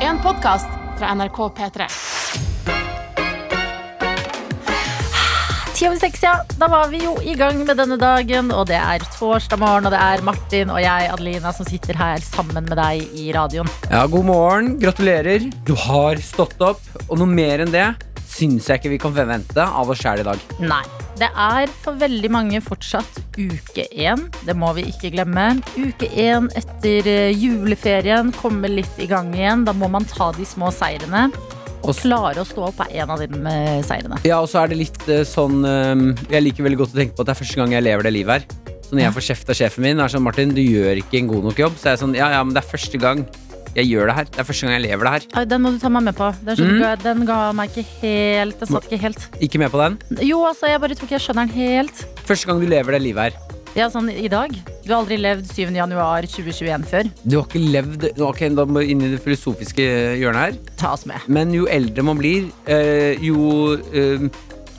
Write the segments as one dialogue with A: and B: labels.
A: en podkast fra NRK P3.
B: Ti over seks, ja. Da var vi jo i gang med denne dagen, og det er torsdag morgen, og det er Martin og jeg, Adelina, som sitter her sammen med deg i radioen.
C: Ja, god morgen. Gratulerer. Du har stått opp. Og noe mer enn det syns jeg ikke vi kan forvente av oss sjæl i dag.
B: Nei. Det er for veldig mange fortsatt uke én. Det må vi ikke glemme. Uke én etter eh, juleferien, komme litt i gang igjen. Da må man ta de små seirene. Og
C: Og s-
B: klare å stå opp er en av de eh, seirene.
C: Ja, og så er det litt eh, sånn eh, Jeg liker veldig godt å tenke på at det er første gang jeg lever det livet her. Så når jeg får kjeft av sjefen min, er det sånn Martin, du gjør ikke en god nok jobb. Så er jeg sånn, ja, ja, men det er første gang jeg gjør det her. Det er første gang jeg lever det her.
B: Ai, Den må du ta meg med på. Den, skjønner
C: Mm.
B: ikke- den ga meg ikke helt Den satt ikke helt.
C: Ikke med på den.
B: Jo, altså, jeg bare tror ikke jeg skjønner den helt.
C: Første gang du lever det livet her.
B: Ja, sånn i dag. Du har aldri levd 7. januar 2021 før.
C: Du har ikke levd Ok, da må vi inn i det filosofiske hjørnet her.
B: Ta oss med.
C: Men jo eldre man blir, eh, jo eh,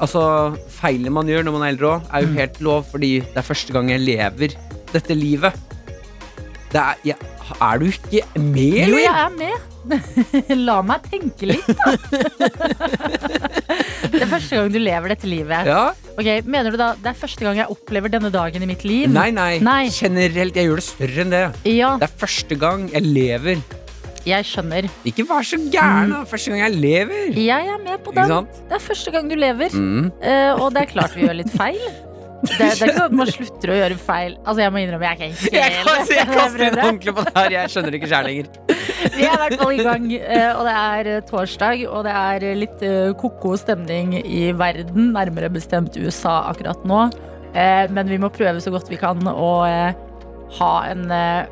C: Altså, feilene man gjør når man er eldre òg, er jo
B: Mm.
C: helt lov, fordi det er første gang jeg lever dette livet. Det er ja, Er du ikke med,
B: Jo, jeg
C: eller?
B: er med. La meg tenke litt, da. det er første gang du lever dette livet.
C: Ja?
B: Ok, Mener du da det er første gang jeg opplever denne dagen i mitt liv?
C: Nei, nei,
B: Nei.
C: Generelt. Jeg gjør det større enn det.
B: Ja,
C: Det er første gang jeg lever.
B: jeg skjønner.
C: Ikke vær så gæren,
B: Mm.
C: da. Første gang jeg lever.
B: Jeg er med på
C: Ikke
B: den.
C: sant?
B: Det er første gang du lever.
C: Mm.
B: Eh, og det er klart vi gjør litt feil. Det, det er ikke sånn at man slutter å gjøre feil. Altså, jeg må innrømme, jeg er ikke helt
C: Jeg, kan, jeg kaster inn
B: prøver.
C: håndkleet på det her. Jeg skjønner det ikke sjæl lenger.
B: Vi er i hvert fall i gang, eh, og det er eh, torsdag, og det er eh, litt eh, ko-ko stemning i verden, nærmere bestemt USA akkurat nå. Eh, Men vi må prøve så godt vi kan å eh, ha en eh,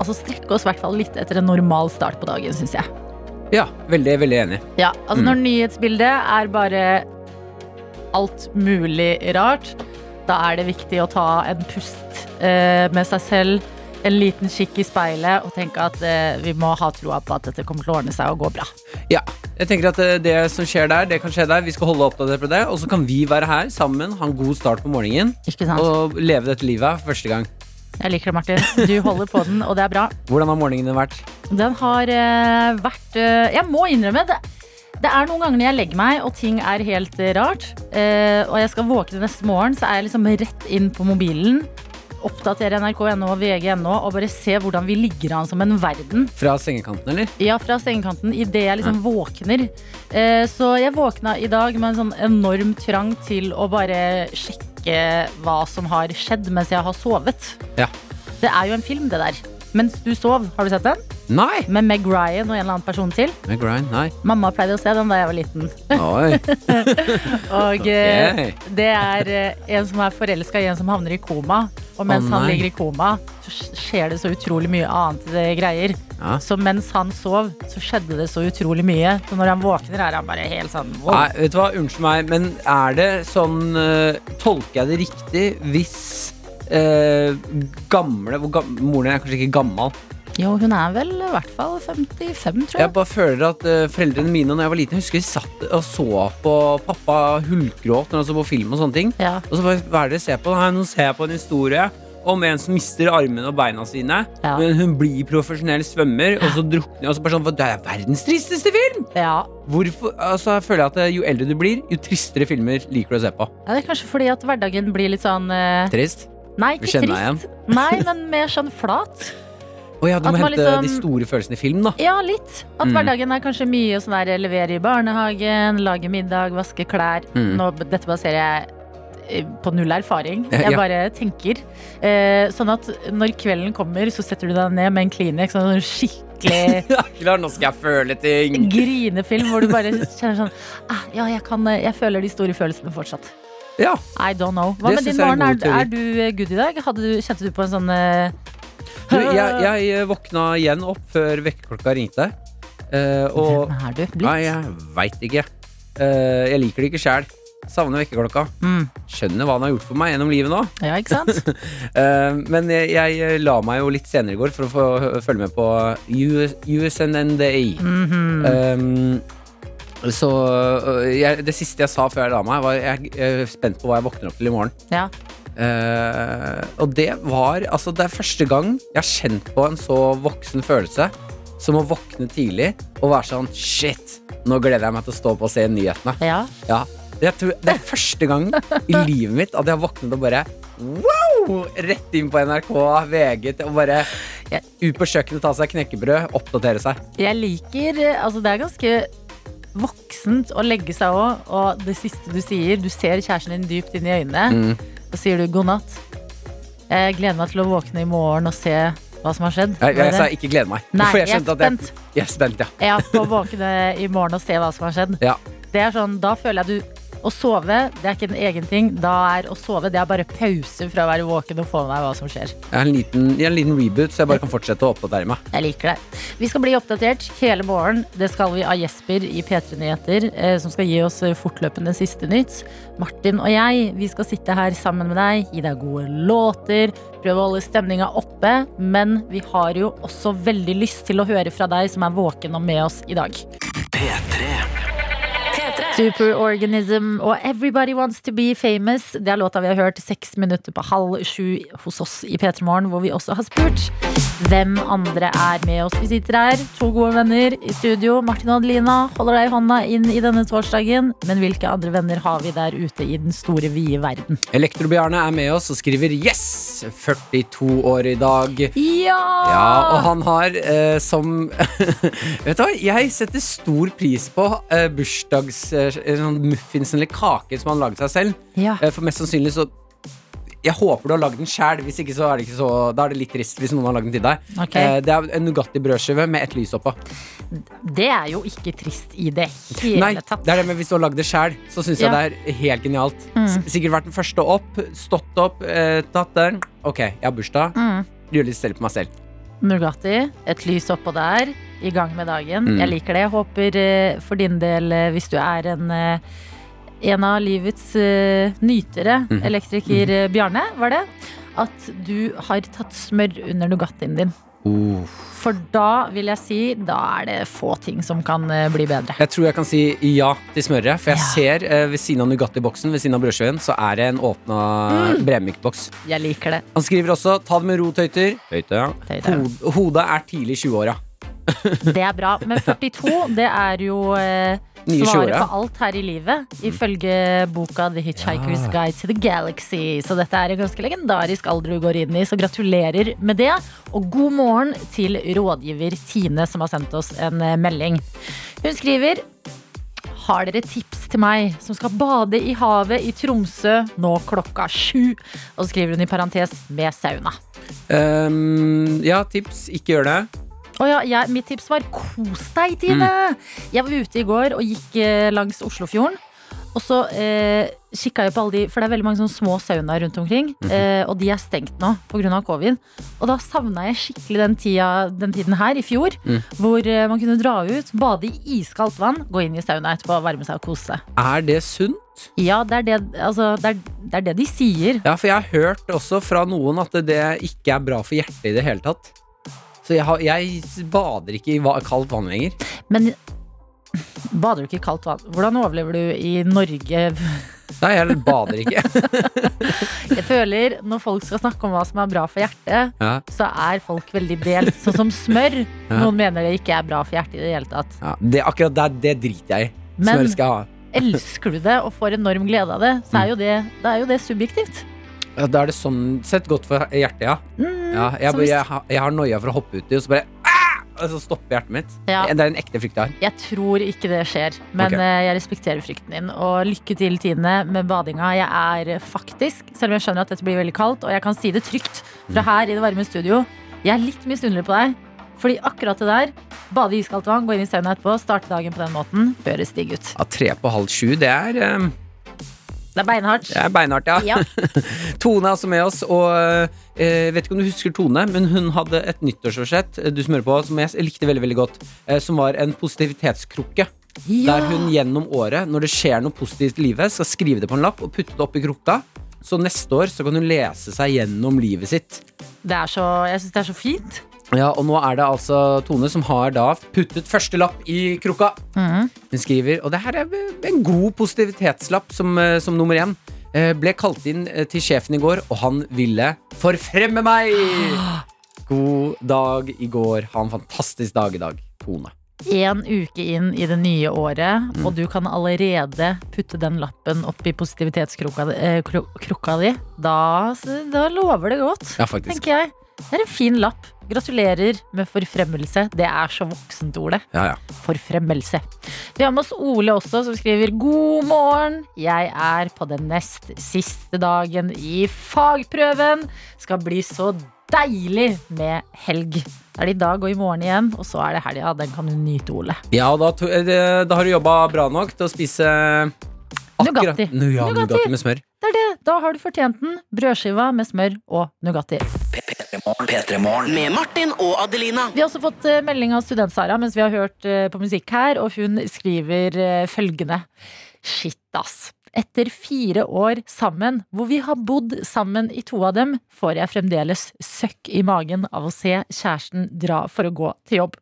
B: Altså strekke oss i hvert fall litt etter en normal start på dagen, syns jeg.
C: Ja, veldig, veldig enig.
B: Ja, altså
C: Mm.
B: når nyhetsbildet er bare alt mulig rart, da er det viktig å ta en pust eh, med seg selv, en liten kikk i speilet og tenke at eh, vi må ha troa på at dette kommer til å ordne seg og gå bra.
C: Ja, jeg tenker at eh, det som skjer der, det kan skje der. Vi skal holde oppdatert på det, og så kan vi være her sammen, ha en god start på morgenen
B: Ikke sant?
C: og leve dette livet for første gang.
B: Jeg liker det, Martin. Du holder på den, og det er bra.
C: Hvordan har morgenen din vært?
B: Den har eh, vært eh, Jeg må innrømme det. Det er noen ganger når jeg legger meg og ting er helt eh, rart, eh, og jeg skal våkne neste morgen, så er jeg liksom rett inn på mobilen, oppdatere nrk.no og vg.no og bare se hvordan vi ligger an som en verden.
C: Fra sengekanten, eller?
B: Ja, fra sengekanten idet jeg liksom våkner. Eh, Så jeg våkna i dag med en sånn enorm trang til å bare sjekke hva som har skjedd mens jeg har sovet.
C: Ja.
B: Det er jo en film, det der. Mens du sov, har du sett den?
C: Nei!
B: Med Meg Ryan og en eller annen person til.
C: Med grind, nei.
B: Mamma pleide å se den da jeg var liten.
C: Oi.
B: Og eh,
C: Ok.
B: det er eh, en som er forelska i en som havner i koma. Og mens
C: Å,
B: han
C: nei.
B: ligger i koma, så sk- skjer det så utrolig mye annet eh, greier.
C: Ja.
B: Så mens han sov, så skjedde det så utrolig mye. Så når han våkner, er han bare helt sånn wow.
C: Nei, vet du hva, unnskyld meg, men er det sånn eh, Tolker jeg det riktig hvis eh, gamle hvor gam, Moren din er kanskje ikke gammel.
B: Jo, hun er vel i hvert fall 55, tror
C: Jeg
B: jeg.
C: bare føler at eh, foreldrene mine Når jeg var liten, jeg husker de satt og så på pappa hulkgråt når han så på film og sånne ting.
B: Ja.
C: Og så bare, hva er det dere ser på? Nei, nå ser jeg på en historie om en som mister armene og beina sine.
B: Ja.
C: Men hun blir profesjonell svømmer, og så drukner og så bare sånn, «Hva, Det er verdens tristeste film!
B: ja.
C: Hvorfor, altså, jeg føler at eh, Jo eldre du blir, jo tristere filmer liker du å se på.
B: Ja, Det er kanskje fordi at hverdagen blir litt sånn eh,
C: Trist?
B: Nei,
C: Vi
B: ikke
C: kjenner deg
B: trist. Nei, men mer sånn flat.
C: Å ja, du
B: At
C: må
B: man
C: hente
B: liksom-
C: de store følelsene i film, da.
B: Ja, litt. At
C: Mm.
B: hverdagen er kanskje mye sånn der levere i barnehagen, lage middag, vaske klær.
C: Mm.
B: Nå, dette baserer jeg eh, på null erfaring.
C: Eh,
B: Jeg
C: ja.
B: bare tenker. Eh, sånn at når kvelden kommer, så setter du deg ned med en Kleenex og en skikkelig
C: Ja, klar, nå skal jeg føle ting.
B: grinefilm hvor du bare kjenner sånn ah, Ja, jeg, kan, eh, jeg føler de store følelsene fortsatt.
C: Ja.
B: I don't know. Hva
C: Det
B: med din
C: synes jeg er en
B: morgen? Er,
C: god teori.
B: er du eh, good i dag? Hadde du, kjente du på en sånn eh,
C: Du, jeg, jeg eh, våkna igjen opp før vekkerklokka ringte. eh, og
B: Hvem er du blitt?
C: Nei, jeg veit ikke. Eh, jeg liker det ikke sjæl. Savner vekkerklokka.
B: Mm.
C: skjønner hva han har gjort for meg gjennom livet nå.
B: Ja, ikke sant?
C: Eh, men jeg, jeg la meg jo litt senere i går for å få hø- følge med på US, USNNDA.
B: Mhm.
C: Eh, så eh, jeg, det siste jeg sa før jeg la meg, var jeg er spent på hva jeg våkner opp til i morgen.
B: Ja.
C: Eh, og det var altså det er første gang jeg har kjent på en så voksen følelse som å våkne tidlig og være sånn Shit, nå gleder jeg meg til å stå opp og se nyhetene.
B: Ja.
C: Ja. Jeg tror det er første gang i livet mitt at jeg har våknet og bare Wow! Rett inn på NRK, VG til- og bare
B: Ja.
C: ut på kjøkkenet, ta seg knekkebrød, oppdatere seg.
B: Jeg liker eh, Altså, det er ganske voksent å legge seg òg, og det siste du sier Du ser kjæresten din dypt inn i øynene,
C: Mm.
B: og sier du god natt. Jeg gleder meg til å våkne i morgen og se hva som har skjedd.
C: Jeg,
B: Var
C: jeg
B: det
C: sa
B: det?
C: ikke glede meg.
B: Nei,
C: for
B: jeg er
C: skjønte at
B: spent.
C: Jeg, jeg er spent, ja.
B: Ja, på å våkne i morgen og se hva som har skjedd.
C: Ja.
B: Det er sånn, da føler jeg du Å sove, det er ikke en egen ting. Da er å sove, det er bare pause fra å være våken og få med deg hva som skjer.
C: Jeg har en liten, jeg har en liten reboot, så jeg bare kan fortsette å oppdatere meg.
B: Jeg liker det. Vi skal bli oppdatert hele morgen. Det skal vi av Jesper i P3 Nyheter, eh, som skal gi oss eh, fortløpende siste nytt. Martin og jeg, vi skal sitte her sammen med deg, gi deg gode låter, prøve å holde stemninga oppe. Men vi har jo også veldig lyst til å høre fra deg som er våken og med oss i dag. Superorganism og Everybody Wants To Be Famous. Det er låta vi har hørt seks minutter på halv sju hos oss i P3 Morgen, hvor vi også har spurt hvem andre er med oss. Vi sitter her, to gode venner i studio. Martin og Adelina holder deg i hånda inn i denne torsdagen. Men hvilke andre venner har vi der ute i den store, vide verden?
C: Elektrobjarne er med oss og skriver 'yes'! 42 år i dag.
B: Ja! Ah.
C: Ja, og han har eh, som Vet du hva, jeg setter stor pris på eh, bursdags... Eh, sånn muffins eller kaker som han laget seg selv.
B: Ja.
C: Eh, for mest sannsynlig så Jeg håper du har lagd den sjæl. Hvis ikke, så er det ikke så Da er det litt trist hvis noen har lagd den til deg.
B: Ok.
C: Eh, det er en Nugatti-brødskive med ett lys oppå.
B: Det er jo ikke trist i det hele
C: Nei,
B: tatt.
C: det er det med hvis du har lagd det sjæl, så syns
B: Ja. Mm.
C: jeg det er helt genialt. S sikkert vært den første opp, stått opp, eh, tatt den. Ok, jeg har bursdag.
B: Mm.
C: Gjør litt stell på meg selv.
B: Nugatti, et lys oppå der, i gang med dagen.
C: Mm.
B: Jeg liker det. Jeg håper eh, for din del, eh, hvis du er en, eh, en av livets eh, nytere,
C: Mhm.
B: elektriker eh, Bjarne, var det, at du har tatt smør under Nugattien din. For da vil jeg si, da er det få ting som kan eh, bli bedre.
C: Jeg tror jeg kan si ja til smøret, for jeg ser eh, ved siden av Nugatti-boksen, ved siden av brødskiven, så er det en åpna Bremik-boks.
B: Jeg liker det.
C: Han skriver også 'ta det med ro, tøyter'.
B: Tøyter.
C: Hod hodet er tidlig i 20-åra.
B: Det er bra. Men 42, det er jo eh,
C: Nye
B: svaret
C: 20-åra.
B: på alt her i livet. Ifølge boka The Hitchhiker's
C: Ja.
B: Guide to the Galaxy. Så dette er en ganske legendarisk alder du går inn i, så gratulerer med det. Og god morgen til rådgiver Tine, som har sendt oss en eh, melding. Hun skriver har dere tips til meg som skal bade i havet i Tromsø nå klokka sju? Og så skriver hun i parentes med sauna.
C: Um, ja, tips. Ikke gjør det.
B: Å ja, jeg, mitt tips var kos deg, Tine. Jeg var ute i går og gikk eh, langs Oslofjorden. Og så eh, kikka jeg på alle de, for det er veldig mange sånne små saunaer rundt omkring. eh, og de er stengt nå pga. covid. Og da savna jeg skikkelig den, tida, den tiden her i fjor.
C: Mm.
B: Hvor eh, man kunne dra ut, bade i iskaldt vann, gå inn i sauna etterpå, varme seg og kose seg.
C: Er det sunt?
B: Ja, det er det, altså, det, er, det, er det de sier.
C: Ja, for jeg har hørt også fra noen at det ikke er bra for hjertet i det hele tatt. Så jeg, har, jeg bader ikke i va kaldt vann lenger.
B: Men bader du ikke i kaldt vann? Hvordan overlever du i Norge
C: Nei, jeg bader ikke.
B: Jeg føler når folk skal snakke om hva som er bra for hjertet,
C: Ja.
B: så er folk veldig delt. Sånn som smør.
C: Ja.
B: Noen mener det ikke er bra for hjertet i det hele tatt.
C: Ja, det, akkurat der, det driter jeg i.
B: Men
C: Smør skal jeg ha.
B: elsker du det og får enorm glede av det, så er jo det, da er jo det subjektivt.
C: Ja, Da er det sånn sett godt for hjertet, ja.
B: Mm,
C: ja jeg,
B: så
C: jeg,
B: hvis-
C: jeg, har- jeg har noia for å hoppe uti, og så bare «Ah!» Og så stopper hjertet mitt.
B: Ja.
C: Det er en ekte frykt jeg har.
B: Jeg tror ikke det skjer, men
C: Ok.
B: eh, jeg respekterer frykten din. Og lykke til, Tine, med badinga. Jeg er eh, faktisk, selv om jeg skjønner at dette blir veldig kaldt, og jeg kan si det trygt
C: Mm.
B: fra her i det varme studio, jeg er litt misunnelig på deg. Fordi akkurat det der, bade i iskaldt vann, gå inn i sauna etterpå, starte dagen på den måten, høres digg ut.
C: Ja, tre på halv sju, det er, eh,
B: Det er beinhardt.
C: det er beinhardt, ja.
B: Ja.
C: Tone er også med oss, og eh, vet ikke om du husker Tone, men hun hadde et nyttårsforsett eh, du smører på, som jeg likte veldig veldig godt, eh, som var en positivitetskrukke. Der hun gjennom året, når det skjer noe positivt i livet, skal skrive det på en lapp og putte det oppi krukka. Så neste år så kan hun lese seg gjennom livet sitt.
B: Det er så, jeg syns det er så fint.
C: Ja, og nå er det altså Tone som har da puttet første lapp i krukka. Hun skriver, og det her er en god positivitetslapp som, eh, som nummer én. Eh, Ble kalt inn eh, til sjefen i går, og han ville forfremme meg! God dag i går. Ha en fantastisk dag i dag, Tone.
B: én uke inn i det nye året,
C: Mm.
B: og du kan allerede putte den lappen opp i positivitetskroka eh, kro- krukka di, da, da lover det godt,
C: Ja, faktisk.
B: tenker jeg. Det er en fin lapp. Gratulerer med forfremmelse. Det er så voksent, Ole.
C: Ja, ja.
B: Forfremmelse. Vi har med oss Ole også, som skriver God morgen. Jeg er på den nest siste dagen i fagprøven. Skal bli så deilig med helg. Det er det i dag og i morgen igjen, og så er det helga. Den kan du nyte, Ole.
C: Ja, da, to, eh, det- da har du jobba bra nok til å spise akkurat
B: Nugatti.
C: Nu, ja,
B: Nugatti.
C: Nugatti med smør.
B: Det er det. Da har du fortjent den. Brødskiva med smør og Nugatti.
D: Med Martin og Adelina.
B: Vi har også fått eh, melding av Student-Sara mens vi har hørt eh, på musikk her, og hun skriver eh, følgende. Shit, ass. Etter fire år sammen, hvor vi har bodd sammen i to av dem, får jeg fremdeles søkk i magen av å se kjæresten dra for å gå til jobb.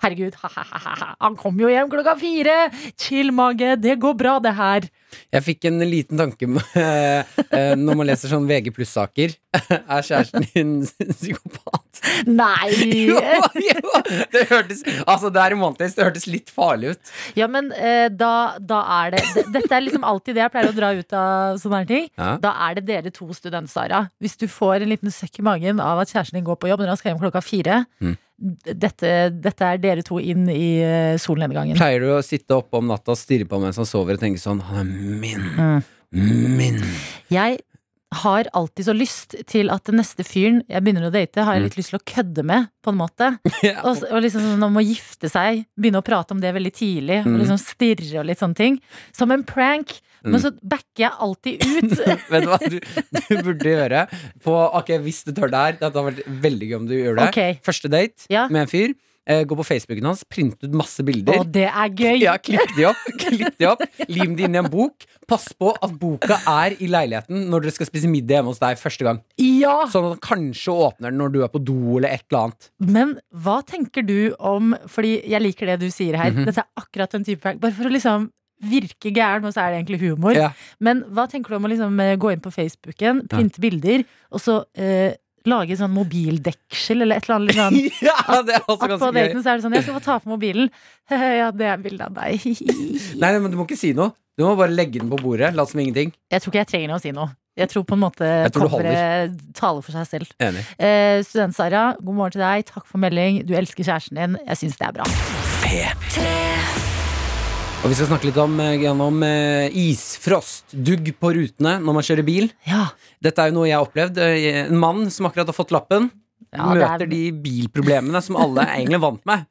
B: Herregud, ha-ha-ha, han kom jo hjem klokka fire! Chill, mage, det går bra, det her.
C: Jeg fikk en liten tanke med, eh, når man leser sånn VG pluss-saker. Er kjæresten din psykopat? Jo,
B: Nei!
C: jo! Det hørtes, altså, det er romantisk. Det hørtes litt farlig ut.
B: Ja, men eh, da, da er det d- Dette er liksom alltid det jeg pleier å dra ut av sånne her ting.
C: Ja.
B: Da er det dere to student, Sara. Hvis du får en liten søkk i magen av at kjæresten din går på jobb når han skal hjem klokka fire,
C: Mm.
B: d- dette, dette er dere to inn i eh, solnedgangen.
C: Pleier du å sitte oppe om natta og stirre på ham mens han sover og tenke sånn Han er min.
B: Mm.
C: Min.
B: Jeg har alltid så lyst til at den neste fyren jeg begynner å date,
C: Mm.
B: har jeg litt lyst til å kødde med, på en måte. Og, s- og liksom sånn om å gifte seg, begynne å prate om det veldig tidlig, og
C: Mm.
B: liksom stirre og litt sånne ting. Som en prank. Men
C: Mm.
B: så backer jeg alltid ut.
C: Vet du hva du, du burde gjøre? På, ok, Hvis du tør det her. Det hadde vært veldig gøy om du gjør det.
B: Ok.
C: Første date
B: Ja.
C: med en fyr. Eh, gå på Facebooken hans, print ut masse bilder.
B: Å, det er gøy!
C: Ja, klipp de opp, klipp de opp Lim de inn i en bok Pass på at boka er i leiligheten Når dere skal spise middag hjemme hos deg første gang
B: Ja!
C: Sånn at kanskje åpner den når du er på do Eller et eller annet
B: Men hva tenker du om Fordi jeg liker det du sier her.
C: Mhm.
B: Dette er akkurat den type prank. Bare for å liksom virke gæren, og så er det egentlig humor.
C: Ja.
B: Men hva tenker du om å liksom eh, gå inn på Facebooken, printe bilder, og så eh, lage sånn mobildeksel eller et eller annet? Liksom.
C: Ja, det er også
B: At på
C: ganske gøy
B: daten så er det sånn 'Jeg skal få ta på mobilen'. ja, det er bilde av deg.
C: Nei, nei, men du må ikke si noe Du må bare legge den på bordet Lat som ingenting
B: jeg tror ikke jeg trenger å si noe. Jeg tror på en måte
C: Jeg tror det
B: coveret taler for seg selv.
C: Enig
B: Eh, student Sara, god morgen til deg. Takk for melding. Du elsker kjæresten din. Jeg syns det er bra.
C: Og vi skal snakke litt om, eh, grann om eh, isfrost Dugg på rutene når man kjører bil
B: Ja,
C: Dette er jo noe jeg har opplevd Eh, En mann som akkurat har fått lappen
B: Ja, det
C: Møter
B: er-
C: de bilproblemene som alle er egentlig vant med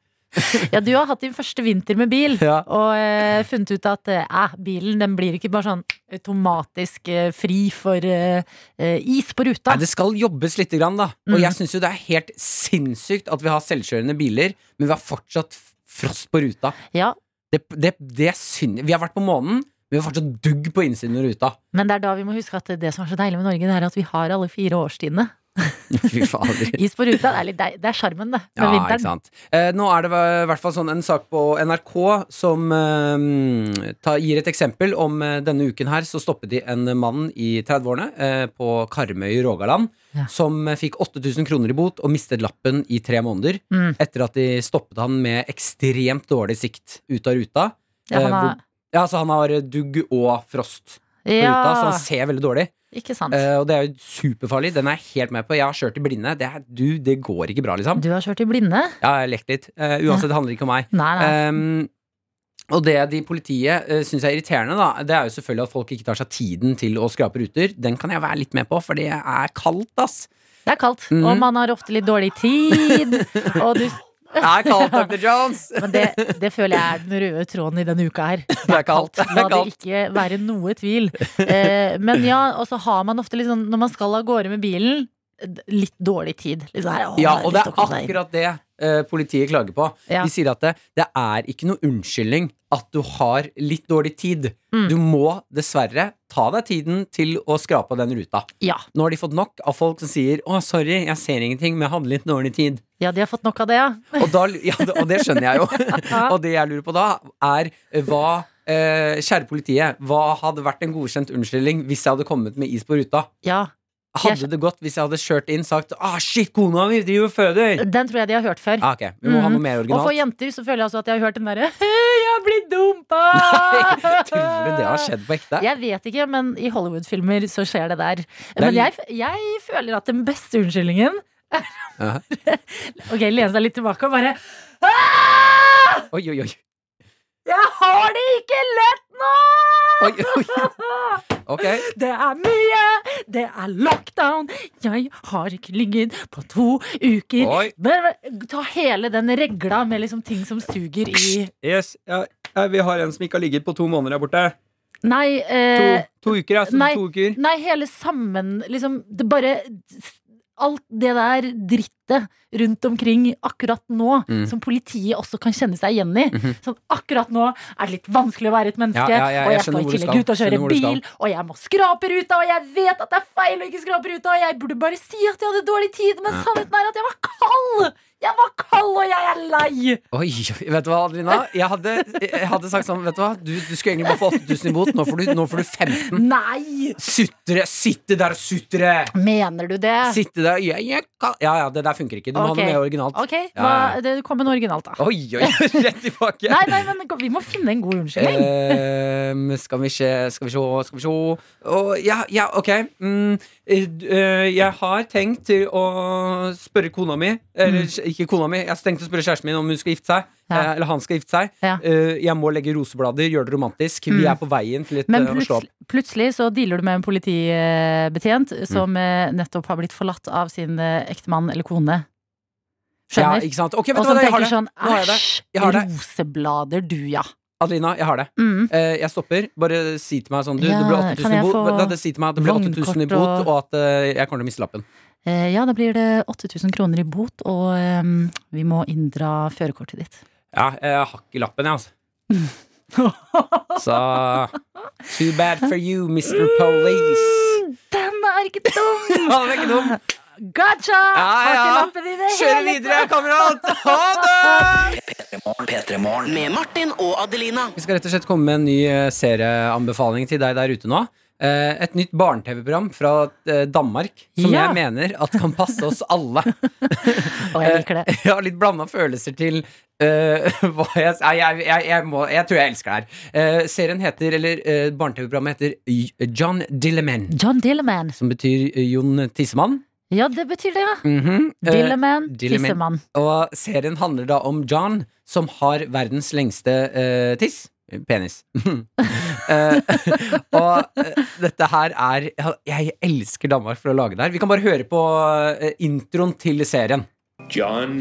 B: ja du har hatt din første vinter med bil.
C: Ja.
B: Og eh, funnet ut at eh, eh, bilen den blir ikke bare sånn automatisk eh, fri for eh, eh, is på ruta.
C: Nei, det skal jobbes litt, grann, da. Og
B: Mm.
C: jeg syns jo det er helt sinnssykt at vi har selvkjørende biler, men vi har fortsatt f- frost på ruta.
B: Ja,
C: Det, det, det synd, vi har vært på månen, men vi har fortsatt dugg på innsiden av ruta.
B: men det er da vi må huske at det som er så deilig med Norge, det er at vi har alle fire årstidene.
C: Fy fader.
B: Is på ruta, det er litt deil- det er sjarmen, det. Med
C: Ja, ikke
B: vinteren.
C: sant. Eh, nå er det i hvert fall sånn en sak på NRK som eh, ta, gir et eksempel. Om eh, denne uken her så stoppet de en mann i 30-årene eh, på Karmøy i Rogaland.
B: Ja.
C: Som eh, fikk 8000 kroner i bot og mistet lappen i tre måneder.
B: Mm.
C: Etter at de stoppet han med ekstremt dårlig sikt ut av ruta.
B: Ja, han
C: Eh,
B: har-
C: hvor- Ja, så han har eh, dugg og frost på ruta, så
B: ja,
C: han ser veldig dårlig.
B: ikke sant.
C: Eh, og det er jo superfarlig. Den er jeg helt med på. Jeg har kjørt i blinde. Det, er, du, det går ikke bra, liksom.
B: Du har kjørt i blinde?
C: Ja, jeg har lekt litt. Eh, uansett, det handler ikke om meg.
B: Nei, nei.
C: Ehm, og det de i politiet uh, syns er irriterende, da, det er jo selvfølgelig at folk ikke tar seg tiden til å skrape ruter. Den kan jeg være litt med på, for det er kaldt, ass.
B: Det er kaldt,
C: Mhm.
B: og man har ofte litt dårlig tid. Og du,
C: Det er kaldt, dr. Jones!
B: men det, det føler jeg er den røde tråden i denne uka her.
C: Det er kaldt. Det
B: La
C: er
B: det
C: kaldt.
B: ikke være noe tvil. Eh, men ja, og så har man ofte litt sånn, når man skal av gårde med bilen, d- litt dårlig tid. Litt sånn her, «Åh,
C: Ja,
B: jeg har
C: og
B: lyst
C: det
B: til
C: er
B: å komme meg inn».
C: akkurat det eh, politiet klager på.
B: Ja.
C: De sier at det, det er ikke noe unnskyldning at du har litt dårlig tid.
B: Mm.
C: Du må dessverre ta deg tiden til å skrape av den ruta.
B: Ja.
C: Nå har de fått nok av folk som sier 'Å, sorry, jeg ser ingenting, men jeg hadde litt dårlig tid'.
B: ja, de har fått nok av det, ja.
C: Og, da, ja, det- og det skjønner jeg jo. og det jeg lurer på da, er eh, hva eh, Kjære politiet, hva hadde vært en godkjent unnskyldning hvis jeg hadde kommet med is på ruta?
B: ja.
C: Hadde det gått hvis jeg hadde kjørt inn sagt ah, shit, kona mi driver og føder?
B: Den tror jeg de har hørt før.
C: Ah, ok, Vi må ha noe mer
B: Og for
C: originalt.
B: jenter så føler jeg også at jeg har hørt den derre «Hei, Jeg har blitt dumpa!
C: Tror du det har skjedd på ekte?
B: Jeg vet ikke, men i Hollywood-filmer så skjer det der.
C: er
B: Men
C: litt-
B: jeg, jeg føler at den beste unnskyldningen
C: Ja.
B: Ok, lene seg litt tilbake og bare «Ah!
C: Oi, oi, oi.
B: Jeg har det ikke lett nå!
C: oi, oi. Ok.
B: Det er mye, det er lockdown, jeg har ikke ligget på to uker.
C: Oi.
B: Men, men, ta hele den regla med liksom ting som suger i
C: Yes, vi har en som ikke har ligget på to måneder der borte.
B: Nei,
C: To,
B: eh,
C: uker,
B: altså, nei. to
C: To uker.
B: nei hele sammen liksom, Det bare Alt det der drittet rundt omkring akkurat nå,
C: Mm.
B: som politiet også kan kjenne seg igjen i.
C: Mhm.
B: Sånn akkurat nå er det litt vanskelig å være et menneske,
C: Ja, ja, ja,
B: og
C: jeg
B: jeg skal
C: skjønner
B: i
C: hvor du
B: tillegg ut
C: skal.
B: og
C: Skjønner
B: kjøre
C: hvor du
B: bil, og jeg må skrape ruta, og jeg vet at det er feil å ikke skrape ruta, og jeg burde bare si at jeg hadde dårlig tid, men
C: Ja.
B: sannheten er at jeg var kald! Jeg var kald, og jeg er lei!
C: Oi, oi, vet du hva, Adelina? Jeg hadde, jeg hadde sagt sånn, vet du hva, du, du skulle egentlig bare få 8000 i bot. Nå får du, nå får du 15.
B: Nei!
C: Sutre! Sitte der og sutre!
B: Mener du det?
C: Sitte der jeg, jeg kan. Ja, ja, det der funker ikke. Du må
B: Ok.
C: ha noe mer originalt.
B: Ok,
C: Ja, ja,
B: hva, det kom en originalt, da.
C: Oi, oi, rett tilbake.
B: Nei, nei, men vi må finne en god
C: Eh,
B: unnskyldning.
C: Ehm, skal vi se, skal vi se, skal vi se Å, ja, ja, ok. Mm, eh, d- eh, jeg har tenkt til å spørre kona mi Eller kj- ikke kona mi, jeg har tenkt å spørre kjæresten min om hun skal gifte seg.
B: Mm. Ja.
C: eh, Eller han skal gifte seg.
B: Ja.
C: Eh, jeg må legge roseblader, gjøre det romantisk. Vi
B: Mm.
C: er på veien til et
B: Men
C: eh, å slå opp. Mm.
B: plutselig, plutselig så dealer du med en politibetjent som eh, nettopp har blitt forlatt av sin eh, ektemann eller kone.
C: Ja,
B: Skjønner?
C: ikke sant? Ok, vet
B: og
C: du hva,
B: som
C: jeg har
B: tenker
C: det.
B: sånn
C: Nå har jeg det.
B: æsj,
C: Jeg har det.
B: roseblader du, ja.
C: Adelina, jeg har det.
B: Mm.
C: Eh, jeg stopper. Bare si til meg sånn Du,
B: Ja,
C: det ble
B: kan
C: 8000 i
B: jeg
C: bot.
B: få
C: Da, det sier til meg at det ble 8000 i
B: vognkort
C: bot,
B: og-
C: og, at eh, jeg kommer til å miste lappen.
B: Eh, ja, da blir det 8000 kroner i bot, og eh, vi må inndra førerkortet ditt.
C: Ja, jeg har ikke lappen, jeg, altså. Så Too bad for you, Mr. Police.
B: Den er ikke dum!
C: Ja, det er ikke dum.
B: Gotcha! Har ikke
C: ja.
B: lappen i det
C: Kjør
B: hele
C: videre, kamerat! Ha det!
D: P3-morgen. Med Martin og Adelina.
C: Vi skal rett og slett komme med en ny eh, serieanbefaling til deg der ute nå. Eh, Et nytt barne-TV-program fra eh, Danmark som
B: Ja.
C: jeg mener at kan passe oss alle.
B: tatt. Og jeg liker det.
C: Jeg har litt blanda følelser til eh, hva jeg, nei, jeg, jeg, jeg, må, jeg tror jeg elsker det her. Eh, serien heter, eller eh, barne-TV-programmet heter Y- John Dilleman.
B: John Dilleman.
C: Som betyr eh, Jon Tissemann.
B: Ja, det betyr det, ja.
C: Mhm. Eh,
B: Dilleman,
C: Dilleman.
B: tissemann.
C: Og serien handler da om John, som har verdens lengste eh, tiss. Penis. Eh, og eh, dette her er ja, Jeg elsker Danmark for å lage det her. Vi kan bare høre på eh, introen til serien.
E: John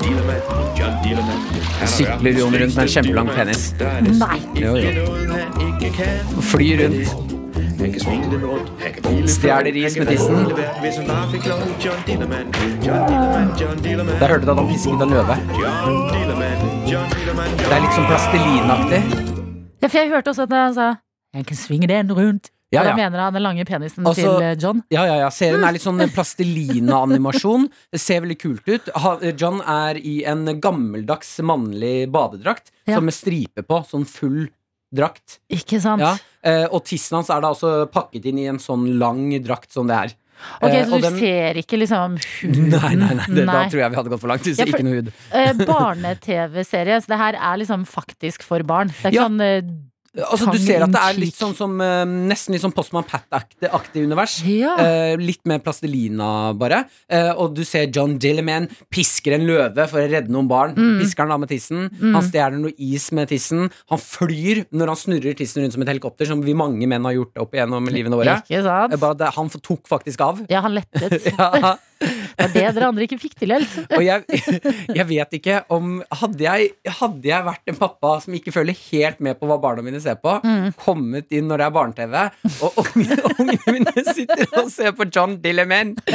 E: Dealeman. John Dealeman. Han er
C: Sykler
E: verdens
C: Jon rundt med en
E: lengste
C: kjempelang
E: dealeman.
C: penis.
E: Der er nesten
B: Nei.
E: ikke
C: Jo, jo.
E: Noget, han ikke kan.
C: Fly rundt.
E: Han kan svinge den rundt. Han kan hvile.
C: Stjæle ris med tissen.
E: Han kan være hele verden, hvis han bare fikk lov. John Dealeman. John Dealeman. John Dealeman.
C: Der hørte du at han pisset ut en løve.
E: John Dealeman. John Dealeman. John
C: Det er litt sånn plastelinaktig.
B: Ja, for jeg hørte også at han sa Jeg kan svinge den rundt.
C: Ja,
B: Og da
C: ja.
B: mener han den lange penisen
C: Altså-
B: til eh, John.
C: Ja, ja, ja. Serien er litt sånn
B: Mm.
C: plastelina-animasjon. Det ser veldig kult ut. Ha- John er i en gammeldags mannlig badedrakt
B: Ja.
C: som med stripe på. Sånn full drakt.
B: Ikke sant?
C: Ja, eh, og tissen hans er da også pakket inn i en sånn lang drakt som det er.
B: Ok,
C: Eh,
B: Så
C: og
B: du
C: den-
B: ser ikke liksom huden?
C: Nei, nei, nei, det, da
B: Nei.
C: tror jeg vi hadde gått for langt. Hvis
B: Ja, for-
C: Ikke noe hud.
B: Eh, Barne-TV-serie, så det her er liksom faktisk for barn. Det er ikke
C: Ja.
B: sånn eh,
C: Altså,
B: Tongue
C: du ser at det er
B: in
C: litt
B: cheek.
C: sånn som eh, Nesten litt sånn Postman Pat-aktig univers.
B: Ja.
C: Eh, litt mer plastelina, bare. Eh, og du ser John Dilliman pisker en løve for å redde noen barn.
B: Mm.
C: Pisker han da med tissen. Han stjeler noe is med tissen. Han flyr når han snurrer tissen rundt som et helikopter, som vi mange menn har gjort opp igjennom livene våre.
B: Ikke
C: Eh,
B: sant?
C: Bare at det- han tok faktisk av.
B: Ja, han lettet.
C: Ja.
B: Det er det dere andre ikke fikk til helt.
C: Og jeg, jeg vet ikke om hadde jeg, hadde jeg vært en pappa som ikke følger helt med på hva barna mine ser på, kommet inn når det er barne-TV, og ungene, ungene mine sitter og ser på John Dilleman,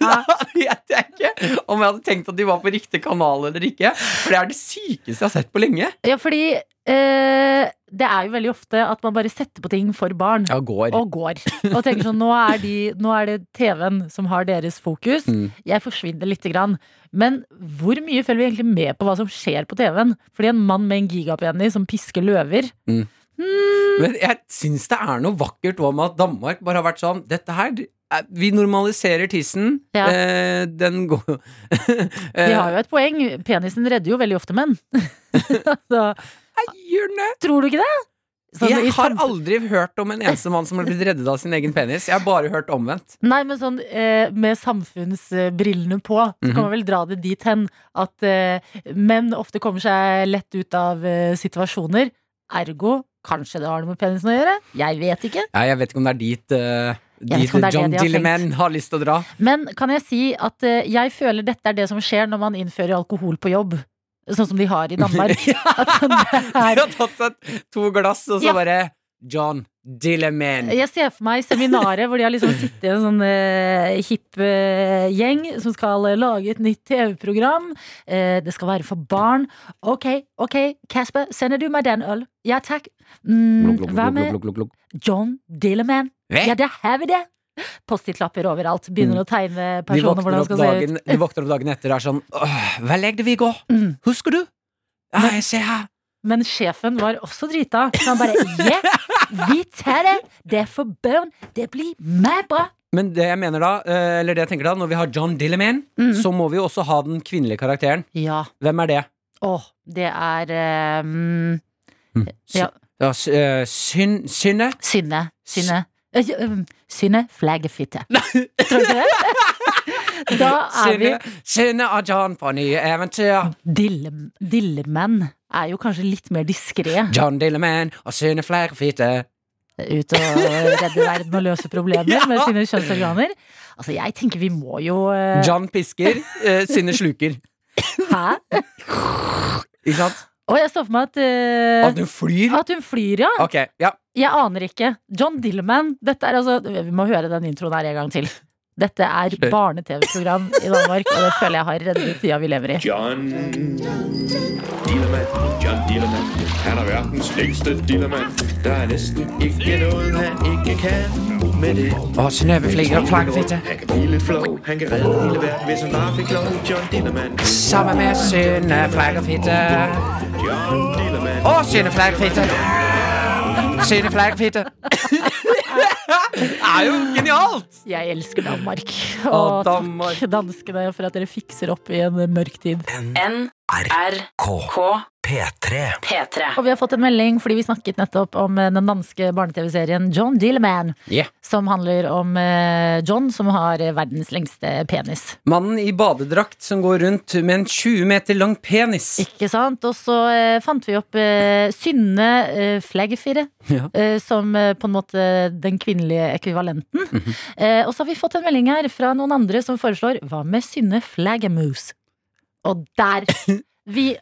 C: da vet jeg ikke om jeg hadde tenkt at de var på riktig kanal eller ikke. For det er det sykeste jeg har sett på lenge.
B: Ja, fordi eh, det er jo veldig ofte at man bare setter på ting for barn.
C: Ja, går.
B: og går. Og tenker sånn, nå er, de, nå er det TV-en som har deres fokus.
C: Mm.
B: Jeg forsvinner lite grann. Men hvor mye følger vi egentlig med på hva som skjer på TV-en? Fordi en mann med en gigapenis som pisker løver
C: Mm.
B: hmm,
C: Men jeg syns det er noe vakkert om at Danmark bare har vært sånn Dette her eh, Vi normaliserer tissen.
B: Ja.
C: Eh, den går eh,
B: De har jo et poeng. Penisen redder jo veldig ofte menn. altså, tror du ikke det? Sånn i
C: Jeg har
B: samfunn-
C: aldri hørt om en eneste mann som har blitt reddet av sin egen penis. Jeg har bare hørt omvendt.
B: Nei, men sånn eh, med samfunnsbrillene på, så kan man vel dra det dit hen at eh, menn ofte kommer seg lett ut av eh, situasjoner. Ergo, kanskje det har noe med penisen å gjøre? Jeg vet ikke.
C: Ja, jeg vet ikke om det er dit, eh,
B: vet
C: dit
B: ikke om det er
C: John
B: det de har
C: Dilleman har lyst til å dra.
B: Men kan jeg si at eh, jeg føler dette er det som skjer når man innfører alkohol på jobb. Sånn som de har i Danmark. At sånn det
C: De
B: er
C: har tatt seg to glass, og så
B: Ja.
C: bare John Dilleman.
B: Jeg ser for meg seminaret hvor de har liksom sittet i en sånn eh, hipp eh, gjeng som skal eh, lage et nytt TV-program. Eh, det skal være for barn. Ok, ok, Kasper, sender du meg den øl? Ja takk. Mm, hva med John Dilleman?
C: Hva?
B: Ja, der har vi det! Post-it-lapper overalt. Begynner å tegne
C: Mm. De
B: personer
C: våkner,
B: hvordan
C: opp
B: skal se ut.
C: dagen, de våkner opp dagen etter og er sånn «Åh, Hva legde vi i går?
B: Mm.
C: Husker du? Ja, jeg ser her.
B: Men sjefen var også drita. Så han bare yeah, vi tar det! Det er for barn. Det blir meg bra.
C: Men det jeg mener da, eh, eller det jeg tenker da, når vi har John Dilleman,
B: Mm.
C: så må vi jo også ha den kvinnelige karakteren.
B: Ja.
C: Hvem er det?
B: Åh, det er eh, mm, Ja.
C: Ja, s- eh, syn, Synne?
B: Synne. Synne. Eh, um, Synne flaggefitte. Tror du ikke det? Da er vi
C: Synne, Synne og John på nye eventyr.
B: Dille- Dillemenn er jo kanskje litt mer diskré.
C: John Dilleman og Synne Flerfite.
B: Ut og redde verden og løse problemer med sine kjønnsorganer. Altså, jeg tenker vi må jo eh,
C: John pisker, eh, Synne sluker.
B: Hæ?
C: Ikke sant?
B: Og jeg så for meg at eh,
C: At hun flyr.
B: At hun flyr, ja.
C: Ok, ja.
B: Jeg aner ikke. John Dilleman. Dette er altså Vi må høre den introen her en gang til. Dette er
C: Kjør.
B: barne-TV-program i Danmark, og det føler jeg har reddet tida vi lever i.
E: John Dillermand, John Dillermand. Han er verdens længste dillermand. Der er næsten ikke noget, han ikke kan med det.
C: Og Synnøve flyr og flaggfitte.
E: Han kan blive lidt flov, han kan redde hele verden, hvis han bare fik lov. John Dillermand,
C: Sammen med Synne Flerfite.
E: John Dillermand.
C: Og Synne Flerfite. Synne Flerfite. Det er jo genialt!
B: Jeg elsker Danmark.
C: Å,
B: Og
C: Danmark.
B: takk, danskene, for at dere fikser opp i en mørk tid.
D: NRK P3. P3.
B: Og vi har fått en melding fordi vi snakket nettopp om eh, den danske barne-TV-serien John Dilleman,
C: Yeah.
B: som handler om eh, John som har eh, verdens lengste penis.
C: Mannen i badedrakt som går rundt med en 20 meter lang penis.
B: Ikke sant? Og så eh, fant vi opp eh, Synne eh, Flaggefire,
C: Ja.
B: eh, som eh, på en måte den kvinnelige ekvivalenten.
C: Mhm.
B: eh, og så har vi fått en melding her fra noen andre som foreslår Hva med Synne Flaggermoose? Og der! Vi,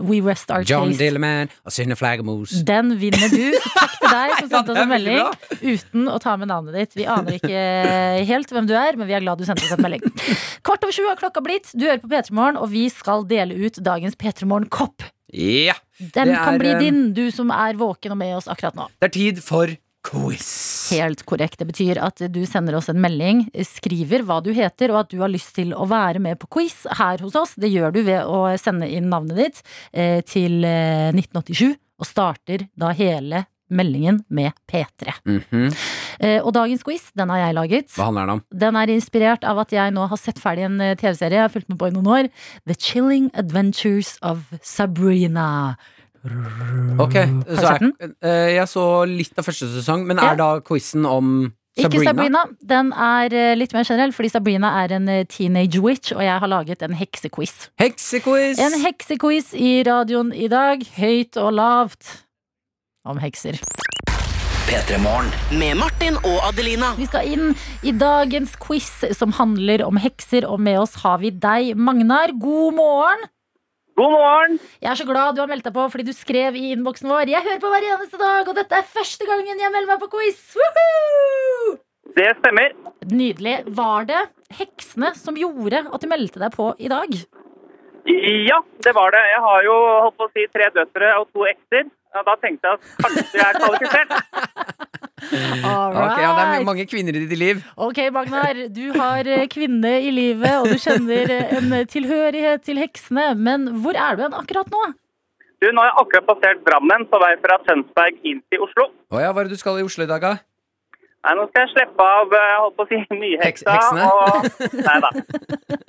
B: we rest our
C: John
B: case.
C: Dilleman og Synne Flaggermus.
B: Den vinner du. Så takk til deg som
C: Ja,
B: sendte
C: det
B: oss
C: er
B: en
C: veldig
B: melding uten å ta med navnet ditt. Vi aner ikke eh, helt hvem du er, men vi er glad du sendte oss en melding. Kvart over sju har klokka blitt. Du hører på P3 Morgen, og vi skal dele ut dagens P3 Morgen-kopp.
C: Ja!
B: Den
C: Det er,
B: kan bli
C: eh,
B: din, du som er våken og med oss akkurat nå.
C: Det er tid for quiz.
B: Helt korrekt. Det betyr at du sender oss en melding, skriver hva du heter, og at du har lyst til å være med på quiz her hos oss. Det gjør du ved å sende inn navnet ditt eh, til eh, 1987, og starter da hele meldingen med P3.
C: Mhm.
B: Eh, og dagens quiz, den har jeg laget.
C: Hva handler den om?
B: Den er inspirert av at jeg nå har sett ferdig en eh, TV-serie jeg har fulgt med på i noen år. The Chilling Adventures of Sabrina.
C: Ok,
B: du
C: så
B: sett
C: er, eh, Jeg så litt av første sesong, men
B: Ja.
C: er da quizen om Sabrina?
B: Ikke Sabrina. Den er eh, litt mer generell, fordi Sabrina er en eh, teenage witch, og jeg har laget en heksequiz.
C: Heksequiz!
B: En heksequiz i radioen i dag, høyt og lavt. Om hekser.
D: P3 Morgen. Med Martin og Adelina.
B: Vi skal inn i dagens quiz som handler om hekser, og med oss har vi deg, Magnar. God morgen!
F: God morgen!
B: Jeg er så glad du har meldt deg på fordi du skrev i innboksen vår. Jeg hører på hver eneste dag, og dette er første gangen jeg melder meg på quiz! Woohoo!
F: Det stemmer.
B: Nydelig. Var det heksene som gjorde at du meldte deg på i dag?
F: Ja, det var det. Jeg har jo holdt på å si tre døtre og to ekser. Ja, Da tenkte jeg at kanskje jeg er kvalifisert.
B: All
C: Ok, ja, det er
B: right.
C: mange kvinner i ditt liv.
B: Ok, Magnar. Du har eh, kvinne i eh, livet, og du kjenner eh, en tilhørighet til heksene. Men hvor er du hen akkurat nå?
F: Du, nå har jeg akkurat passert Drammen på vei fra Tønsberg inn til Oslo.
C: Å ja, hva er det du skal i Oslo i dag, da?
F: Nei, nå skal jeg slippe av eh, holdt på å si,
C: Heks-
F: nyheksa.
C: heksene?
F: Og, nei da.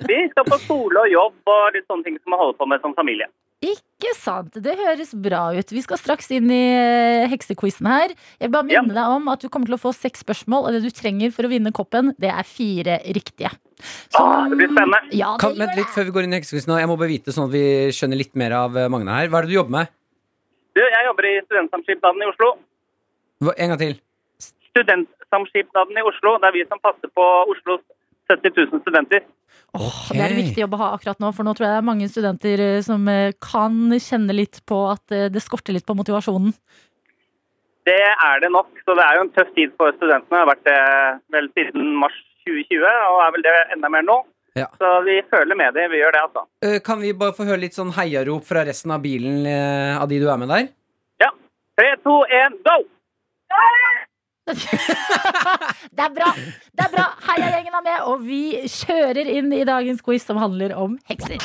F: Vi skal på skole og jobb og litt sånne ting som man holder på med som familie.
B: Ikke sant. Det høres bra ut. Vi skal straks inn i eh, heksequizen her. Jeg vil bare
F: Ja.
B: minne deg om at du kommer til å få seks spørsmål, og det du trenger for å vinne koppen, det er fire riktige.
F: Åh, det blir spennende.
B: Ja, det
C: Kan,
B: gjør
C: vent litt
B: det.
C: før vi går inn i heksekunsten. nå. Jeg må bare vite sånn at vi skjønner litt mer av eh, Magne her. Hva er det du jobber med?
F: Du, jeg jobber i Studentsamskipnaden i Oslo.
C: Hva, en gang til.
F: Studentsamskipnaden i Oslo, det er vi som passer på Oslos 70 000 studenter.
B: Og Det er en
C: Ok.
B: viktig jobb å ha akkurat nå, for nå tror jeg det er mange studenter eh, som eh, kan kjenne litt på at eh, det skorter litt på motivasjonen.
F: Det er det nok, så det er jo en tøff tid for studentene. Det har vært det vel siden mars 2020, og er vel det enda mer nå.
C: Ja.
F: Så vi føler med det, vi gjør det altså.
C: Eh, Kan vi bare få høre litt sånn heiarop fra resten av bilen eh, av de du er med der?
F: Ja. Tre, to, én, go!
B: Det er bra! det er bra Heia gjengen er med, og vi kjører inn i dagens quiz som handler om hekser.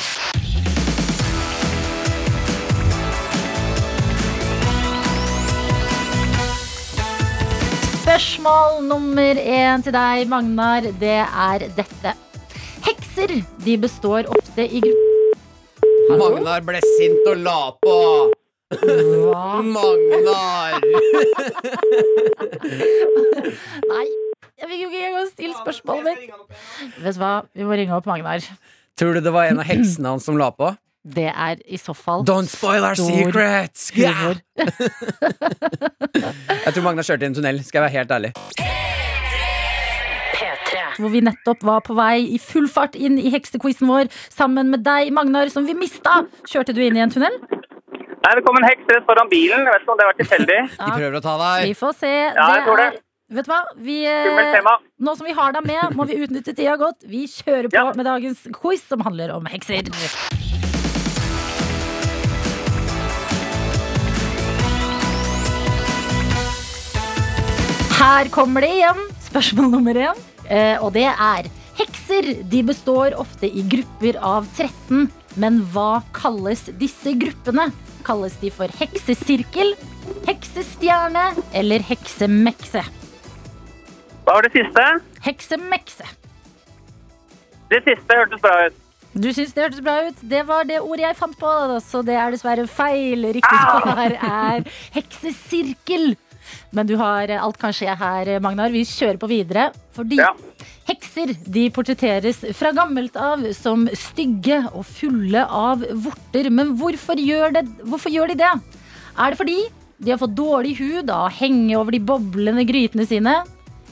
B: Spørsmål nummer én til deg, Magnar, det er dette. Hekser de består ofte i grupper
C: Magnar ble sint og la på. Magnar!
B: Nei, jeg fikk jo ikke engang stille spørsmålet mitt. Vet du hva, vi må ringe opp Magnar.
C: Tror du det var en av heksene hans som la på?
B: Det er i så fall
C: Don't spoil our
B: stor
C: secrets!
B: humor.
C: Jeg tror Magnar kjørte i en tunnel, skal jeg være helt ærlig.
B: Hvor vi nettopp var på vei i full fart inn i heksequizen vår sammen med deg, Magnar, som vi mista. Kjørte du inn i en tunnel?
F: Nei, det kom en heks rett foran bilen. Jeg vet ikke om det var tilfeldig.
C: De prøver å ta
B: Vi
C: deg.
B: får se.
F: jeg tror det.
B: er Vet du hva? Vi, eh,
F: Skummelt tema.
B: nå som vi har deg med, må vi utnytte tida godt. Vi kjører på
F: Ja.
B: med dagens quiz som handler om hekser. Her kommer det igjen. Spørsmål nummer én. Eh, og det er Hekser de består ofte i grupper av 13. Men hva kalles disse gruppene? Kalles de for heksesirkel, heksestjerne eller heksemekse?
F: Hva var det siste?
B: Heksemekse.
F: Det siste hørtes bra ut.
B: Du syns det hørtes bra ut. Det var det ordet jeg fant på, så det er dessverre feil. Riktig svar er heksesirkel. Men du har eh, alt kan skje her, eh, Magnar. Vi kjører på videre. Fordi
F: Ja.
B: hekser de portretteres fra gammelt av som stygge og fulle av vorter. Men hvorfor gjør, det, hvorfor gjør de det? Er det fordi de har fått dårlig hud av å henge over de boblende grytene sine?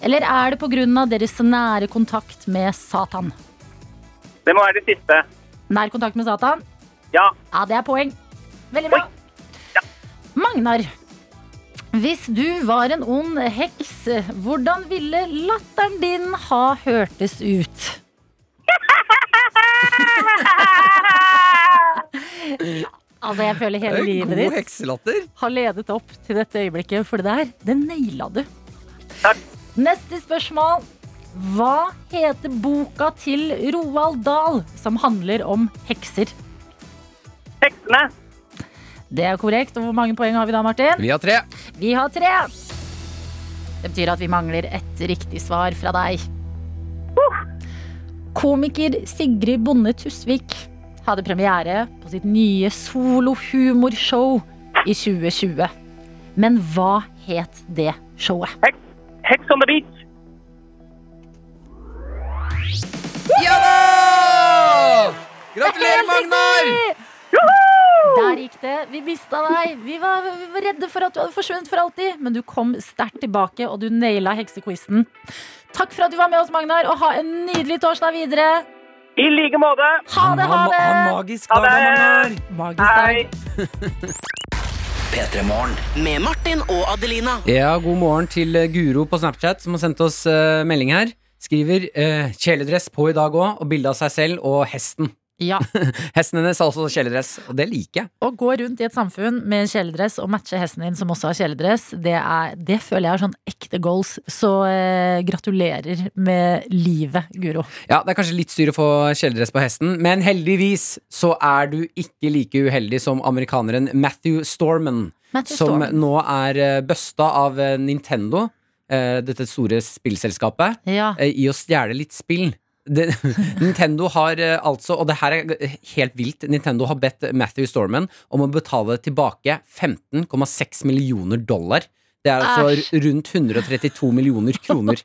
B: Eller er det pga. deres nære kontakt med Satan?
F: Det må være det siste.
B: Nær kontakt med Satan?
F: Ja.
B: Ja, det er poeng. Veldig bra. Magnar, hvis du var en ond heks, hvordan ville latteren din ha hørtes ut? Altså, jeg føler hele livet
C: God
B: ditt
C: hekselatter.
B: har ledet opp til dette øyeblikket, for det der, det naila du.
F: Takk.
B: Neste spørsmål. Hva heter boka til Roald Dahl som handler om hekser?
F: Heksene.
B: Det er korrekt. Og hvor mange poeng har vi da, Martin?
C: Vi har tre.
B: Vi har tre. Det betyr at vi mangler et riktig svar fra deg. Komiker Sigrid Bonde Tusvik hadde premiere på sitt nye solohumorshow i 2020. Men hva het det showet?
F: Heks. Heks on the beach.
C: Ja da! Gratulerer, Magnar!
B: Der gikk det. Vi mista deg. Vi var, vi var redde for at du hadde forsvunnet for alltid, men du kom sterkt tilbake, og du naila heksequizen. Takk for at du var med oss, Magnar, og ha en nydelig torsdag videre.
F: I like måte.
B: Ha det, ha det!
C: Ha en magisk
F: Ha
C: dag, da,
F: det.
C: Magnar.
B: Magisk dag.
F: Hei.
D: P3-morgen. Med Martin og Adelina.
C: Ja, god morgen til eh, Guro på Snapchat som har sendt oss eh, melding her. Skriver eh, 'kjeledress på i dag òg' og bilde av seg selv og hesten.
B: Ja.
C: Hesten hennes har også kjeledress, og det liker jeg.
B: Å gå rundt i et samfunn med kjeledress og matche hesten din som også har kjeledress, det, er, det føler jeg er sånn ekte goals. Så eh, gratulerer med livet, Guro.
C: Ja, Det er kanskje litt styr å få kjeledress på hesten, men heldigvis så er du ikke like uheldig som amerikaneren Matthew Storman,
B: Matthew
C: som
B: Storm.
C: nå er eh, busta av eh, Nintendo, eh, dette store spillselskapet,
B: Ja.
C: eh, i å stjele litt spill. Det, Nintendo har eh, altså, og det her er g- helt vilt, Nintendo har bedt Matthew Storman om å betale tilbake 15,6 millioner dollar. Det er altså rundt 132 millioner kroner.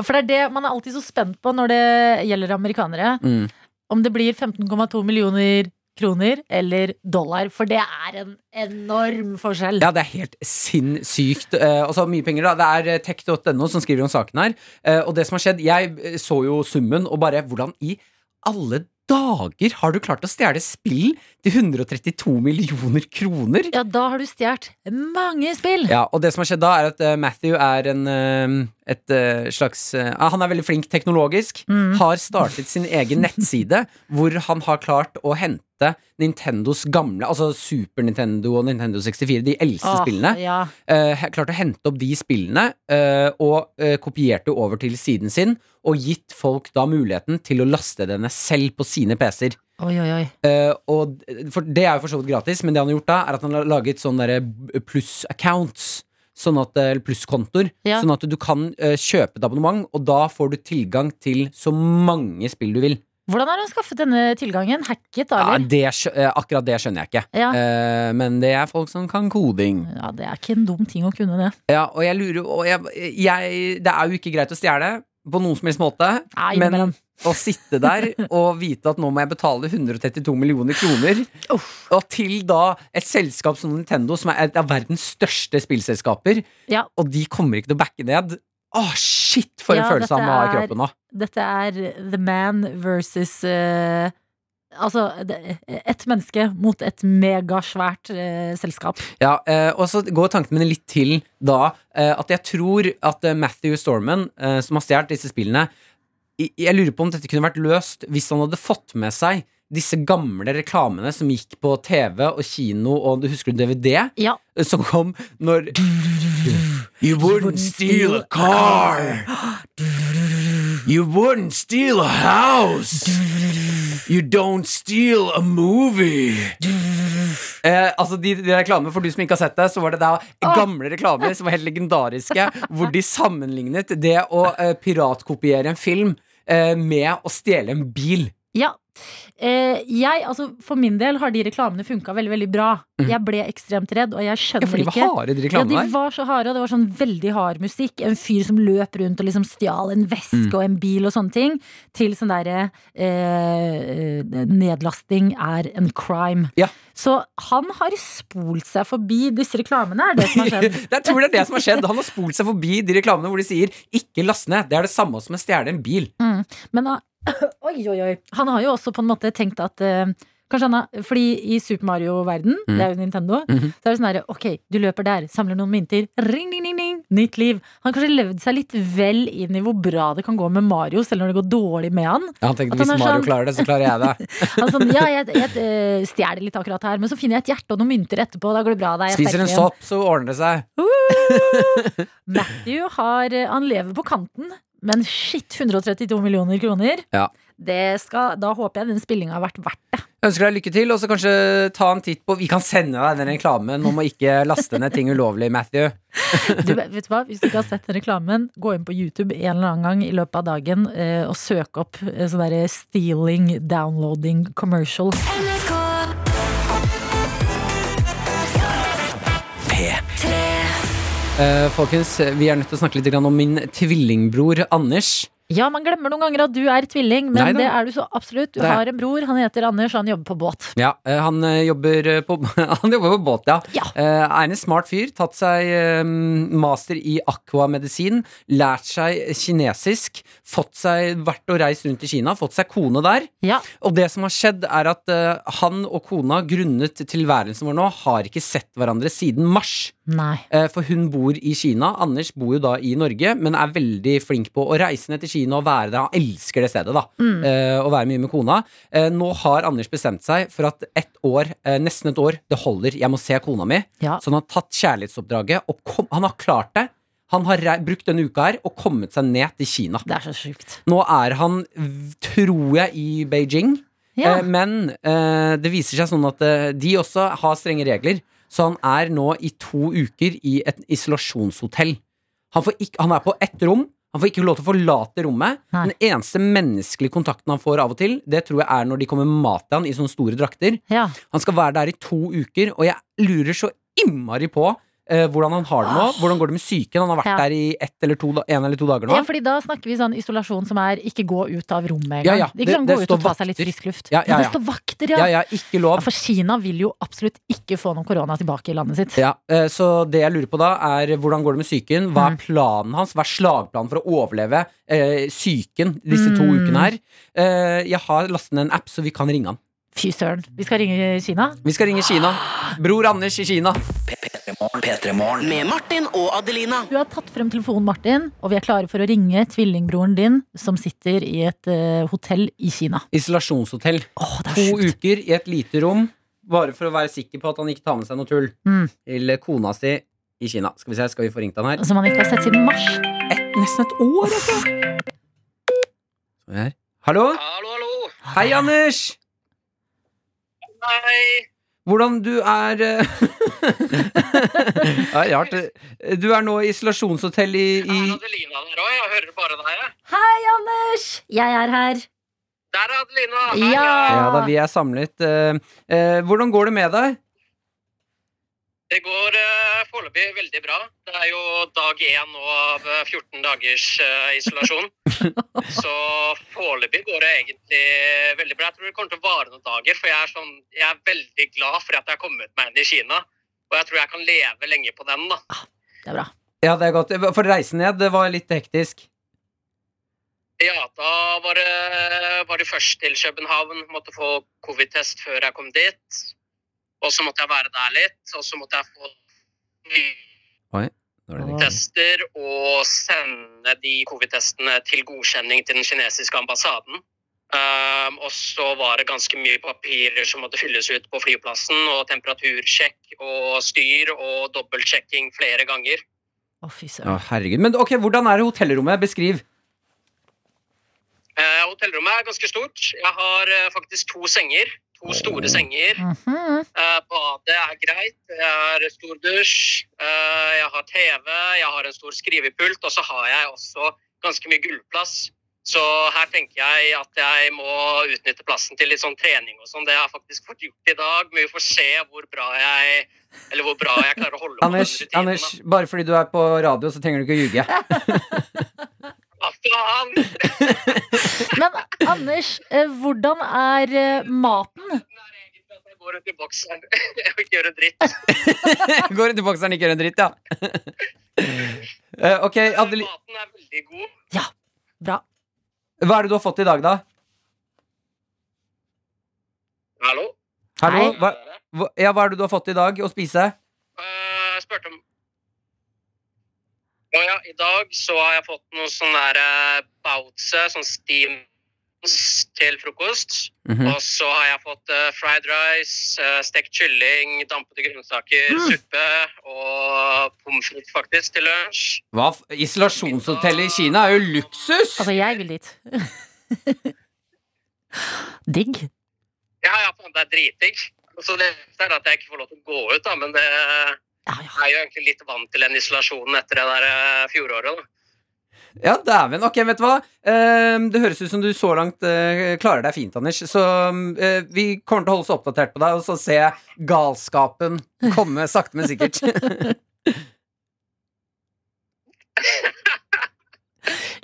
B: For det er det man er alltid så spent på når det gjelder amerikanere.
C: Mm.
B: Om det blir 15,2 millioner kroner eller dollar. For det er en enorm forskjell.
C: Ja, det er helt sinnssykt. Eh, og så mye penger, da. Det er eh, tech.no som skriver om saken her. Eh, og det som har skjedd Jeg eh, så jo summen, og bare hvordan i alle dager har du klart å stjele spill til 132 millioner kroner?
B: Ja, da har du stjålet mange spill!
C: Ja, og det som har skjedd da, er at eh, Matthew er en eh, et eh, slags eh, Han er veldig flink teknologisk.
B: Mm.
C: Har startet sin egen nettside hvor han har klart å hente Nintendos gamle, altså Super Nintendo og Nintendo 64, de eldste
B: Åh,
C: spillene
B: Ja.
C: uh, klart å hente opp de spillene eh, og eh, kopiert det over til siden sin, og gitt folk da muligheten til å laste denne selv på sine PC-er.
B: Oi, oi, oi.
C: Eh, og d- for, det er jo for så vidt gratis, men det han har gjort da, er at han har laget sånne derre b- pluss-accounts. Sånn at, eller plusskontoer.
B: Ja.
C: Sånn at du kan eh, kjøpe et abonnement, og da får du tilgang til så mange spill du vil.
B: Hvordan har han skaffet denne tilgangen? Hacket, da,
C: Ja,
B: eller?
C: det, skjø- eh, akkurat det skjønner jeg ikke.
B: Ja.
C: Eh, men det er folk som kan koding.
B: Ja, det er ikke en dum ting å kunne det.
C: Ja, og jeg lurer og jeg, jeg, Det er jo ikke greit å stjele på noen som helst måte.
B: Nei,
C: Men
B: innimellom.
C: å sitte der og vite at nå må jeg betale 132 millioner kroner, og til da et selskap som Nintendo, som er et av verdens største spillselskaper,
B: Ja.
C: og de kommer ikke til å backe ned. Åh, shit, for en
B: Ja,
C: følelse han må ha i
B: dette er-
C: kroppen nå.
B: Dette er the man versus eh, Altså, det- ett menneske mot et megasvært eh, selskap.
C: Ja, eh, og så går tankene mine litt til da eh, at jeg tror at eh, Matthew Storman, eh, som har stjålet disse spillene i- Jeg lurer på om dette kunne vært løst hvis han hadde fått med seg disse gamle reklamene som gikk på TV og kino og du husker du DVD, eh,
B: Ja.
C: som kom når You wouldn't steal a car. You wouldn't steal a house. You don't steal a movie. Eh, altså de, de reklamene For du som ikke har sett det, så var det da gamle reklamer som var helt legendariske, hvor de sammenlignet det å eh, piratkopiere en film eh, med å stjele en bil.
B: ja. Eh, jeg, altså, for min del har de reklamene funka veldig veldig bra. Jeg ble ekstremt redd, og jeg
C: Mhm. Ja,
B: skjønner
C: for de var
B: ikke
C: harde, de
B: Ja, de
C: reklamene der.
B: var så harde, og det var sånn veldig hard musikk. En fyr som løp rundt og liksom stjal en
C: Mhm.
B: veske og en bil og sånne ting. Til sånn derre eh, Nedlasting er en crime.
C: Ja.
B: Så han har spolt seg forbi disse reklamene, er det som har skjedd.
C: Jeg tror det er det som har skjedd. Han har spolt seg forbi de reklamene hvor de sier 'ikke last ned'. Det er det samme som å stjele en bil.
B: Mm. Men han- oi, oi, oi. Han har jo også på en måte tenkt at eh, Kanskje han har, fordi I Super Mario-verden, det er jo Nintendo,
C: Mhm.
B: så er det sånn herre Ok, du løper der, samler noen mynter. Ring, ding, ding, ding. Nytt liv. Han har kanskje levd seg litt vel inn i hvor bra det kan gå med Mario, selv når det går dårlig med han.
C: Ja, han
B: At
C: tenkte
B: han
C: hvis
B: er
C: Mario
B: sånn-
C: klarer det, så klarer jeg det.
B: Han er sånn, ja, jeg, jeg eh, stjeler litt akkurat her, men så finner jeg et hjerte og noen mynter etterpå. Da går det bra. Da er jeg
C: Spiser en
B: sterk igjen.»
C: sopp, så ordner det seg.
B: Matthew har, eh, han lever på kanten, men shit, 132 millioner kroner.
C: Ja.
B: Det skal, da håper jeg den spillinga har vært verdt det.
C: Jeg ønsker deg lykke til, og så kanskje ta en titt på Vi kan sende deg den reklamen om å ikke laste ned ting ulovlig, Matthew.
B: Du, vet du hva? Hvis du ikke har sett den reklamen, gå inn på YouTube en eller annen gang i løpet av dagen eh, og søk opp eh, sånn derre stealing, downloading, commercial.
C: Eh, folkens, vi er nødt til å snakke litt grann om min tvillingbror Anders.
B: Ja, man glemmer noen ganger at du er tvilling, men
C: Nei da.
B: det er du så absolutt. Du
C: Det er-
B: har en bror, han heter Anders, og han jobber på båt.
C: Ja, eh, Han eh, jobber eh, på, han jobber på båt, ja.
B: Ja.
C: Eh, er en smart fyr. Tatt seg eh, master i aquamedisin. Lært seg kinesisk. Fått seg vært og reist rundt i Kina. Fått seg kone der.
B: Ja,
C: Og det som har skjedd, er at eh, han og kona, grunnet tilværelsen vår nå, har ikke sett hverandre siden mars.
B: nei.
C: Eh, For hun bor i Kina. Anders bor jo da i Norge, men er veldig flink på å reise ned til kino og være der. Han elsker det stedet, da. Eh, å være mye med kona. Eh, nå har Anders bestemt seg for at ett år, eh, nesten et år, det holder. Jeg må se kona mi.
B: Ja.
C: Så han har tatt kjærlighetsoppdraget, og kom, han har klart det. Han har rei- brukt denne uka her og kommet seg ned til Kina.
B: Det er så sjukt.
C: Nå er han, v- tror jeg, i Beijing.
B: Ja.
C: Eh, Men eh, det viser seg sånn at eh, de også har strenge regler. Så han er nå i to uker i et isolasjonshotell. Han, får ikke, han er på ett rom. Han får ikke lov til å forlate rommet.
B: Nei.
C: Den eneste menneskelige kontakten han får av og til, det tror jeg er når de kommer med mat til han i sånne store drakter.
B: Ja.
C: Han skal være der i to uker, og jeg lurer så innmari på eh, hvordan han har det nå. Hvordan går det med psyken? Han har vært
B: Ja.
C: der i ett eller to, da- en eller to dager nå.
B: Ja, fordi da snakker vi sånn isolasjon som er ikke gå ut av rommet engang.
C: Ja, ja.
B: Ikke sånn
C: Det-
B: gå
C: det
B: ut og
C: står
B: ta seg litt
C: vakter.
B: frisk luft.
C: Ja, ja,
B: Men
C: ja.
B: det står vakter,
C: Ja,
B: ja.
C: ja, ikke lov.
B: Ja, For Kina vil jo absolutt ikke få noe korona tilbake i landet sitt.
C: Ja, eh, Så det jeg lurer på da, er hvordan går det med psyken? Hva
B: Mm.
C: er planen hans? Hva er slagplanen for å overleve eh, psyken disse to
B: Mm.
C: ukene her? Eh, jeg har lastet ned en app, så vi kan ringe han.
B: Fy søren. Vi skal ringe Kina.
C: Vi skal ringe Kina. Bror Anders i Kina.
D: P3morgen. Med Martin og Adelina.
B: Du har tatt frem telefonen, Martin, og vi er klare for å ringe tvillingbroren din, som sitter i et eh, hotell i Kina.
C: Isolasjonshotell.
B: Åh, det
C: To
B: er sjukt.
C: uker i et lite rom, bare for å være sikker på at han ikke tar med seg noe tull.
B: Mm.
C: Til kona si i Kina. Skal vi se, skal vi få ringt han her?
B: Som man ikke har sett siden mars.
C: Et, nesten et år, altså! Skal vi her. Hallo?
G: Hallo, hallo.
C: Hei, Anders!
G: Hei.
C: Hvordan du er eh, Det er rart. Du er nå i isolasjonshotell i, i
G: Er Adelina der òg? Jeg hører bare deg. jeg.
B: Hei, Anders! Jeg er her.
G: Der er Adelina. Hei,
B: Ja!
C: Ja da, vi er samlet. Eh, eh, hvordan går det med deg?
G: Det går uh, foreløpig veldig bra. Det er jo dag én nå av eh, 14 dagers eh, isolasjon. Så foreløpig går det egentlig veldig bra. Jeg tror det kommer til å vare noen dager, for jeg er, sånn, jeg er veldig glad for at jeg har kommet meg inn i Kina. Og jeg tror jeg kan leve lenge på den, da.
B: Det er bra.
C: Ja, det er godt. Eh, For reisen ned, det var litt hektisk.
G: Ja, da var det, var det først til København. Måtte få covid-test før jeg kom dit. Og så måtte jeg være der litt. Og så måtte jeg få nye
C: Nå er det
B: Ja.
C: riktig.
G: tester og sende de covid-testene til godkjenning til den kinesiske ambassaden. Ehm, og så var det ganske mye papirer som måtte fylles ut på flyplassen. Og temperatursjekk og styr og dobbeltsjekking flere ganger.
B: Å, fy søren.
C: Å, herregud. Men ok, hvordan er hotellrommet? Beskriv.
G: Eh, hotellrommet er ganske stort. Jeg har eh, faktisk to senger. To
C: Mm.
G: store senger.
B: Mhm.
G: Eh, badet er greit. Jeg har stor dusj. Eh, jeg har TV, jeg har en stor skrivepult, og så har jeg også ganske mye gulvplass. Så her tenker jeg at jeg må utnytte plassen til litt sånn trening og sånn. Det har jeg faktisk fått gjort i dag, men vi får se hvor bra jeg eller hvor bra jeg klarer å holde på
C: Anders,
G: den rutinen,
C: Anders, bare fordi du er på radio, så trenger du ikke å ljuge.
G: da. Hva faen?
B: Men Anders, eh, hvordan er eh, maten?
G: Det er egentlig at jeg går ut i bokseren og ikke gjør en dritt.
C: Går rundt i bokseren, ikke gjør en dritt, ja. Eh, ok, Adeline,
G: Maten er veldig god.
B: Bra.
C: hva er det du har fått i dag, da?
G: Hallo?
C: Hallo?
B: Hei.
C: Hva, hva, ja, hva er det du har fått i dag å spise?
G: Eh, Jeg spurte om Å ja, i dag så har jeg fått noe sånn der eh, bautse, sånn steam til frokost.
C: Mhm.
G: Og så har jeg fått eh, fried rice, eh, stekt kylling, dampede grønnsaker,
B: Mm.
G: suppe og pommes frites faktisk til lunsj.
C: Hva? f- Isolasjonshotellet i Kina er jo luksus!
B: Altså, jeg vil dit. Digg.
G: Ja, ja, faen, det er dritdigg. Og Så det er at jeg ikke får lov til å gå ut, da, men det
B: Ja, ja.
G: er jo egentlig litt vant til den isolasjonen etter det der eh, fjoråret. da.
C: Ja, dæven. Ok, vet du hva? Ehm, det høres ut som du så langt eh, klarer deg fint, Anders. Så mm, eh, vi kommer til å holde oss oppdatert på deg, og så se galskapen komme sakte, men sikkert.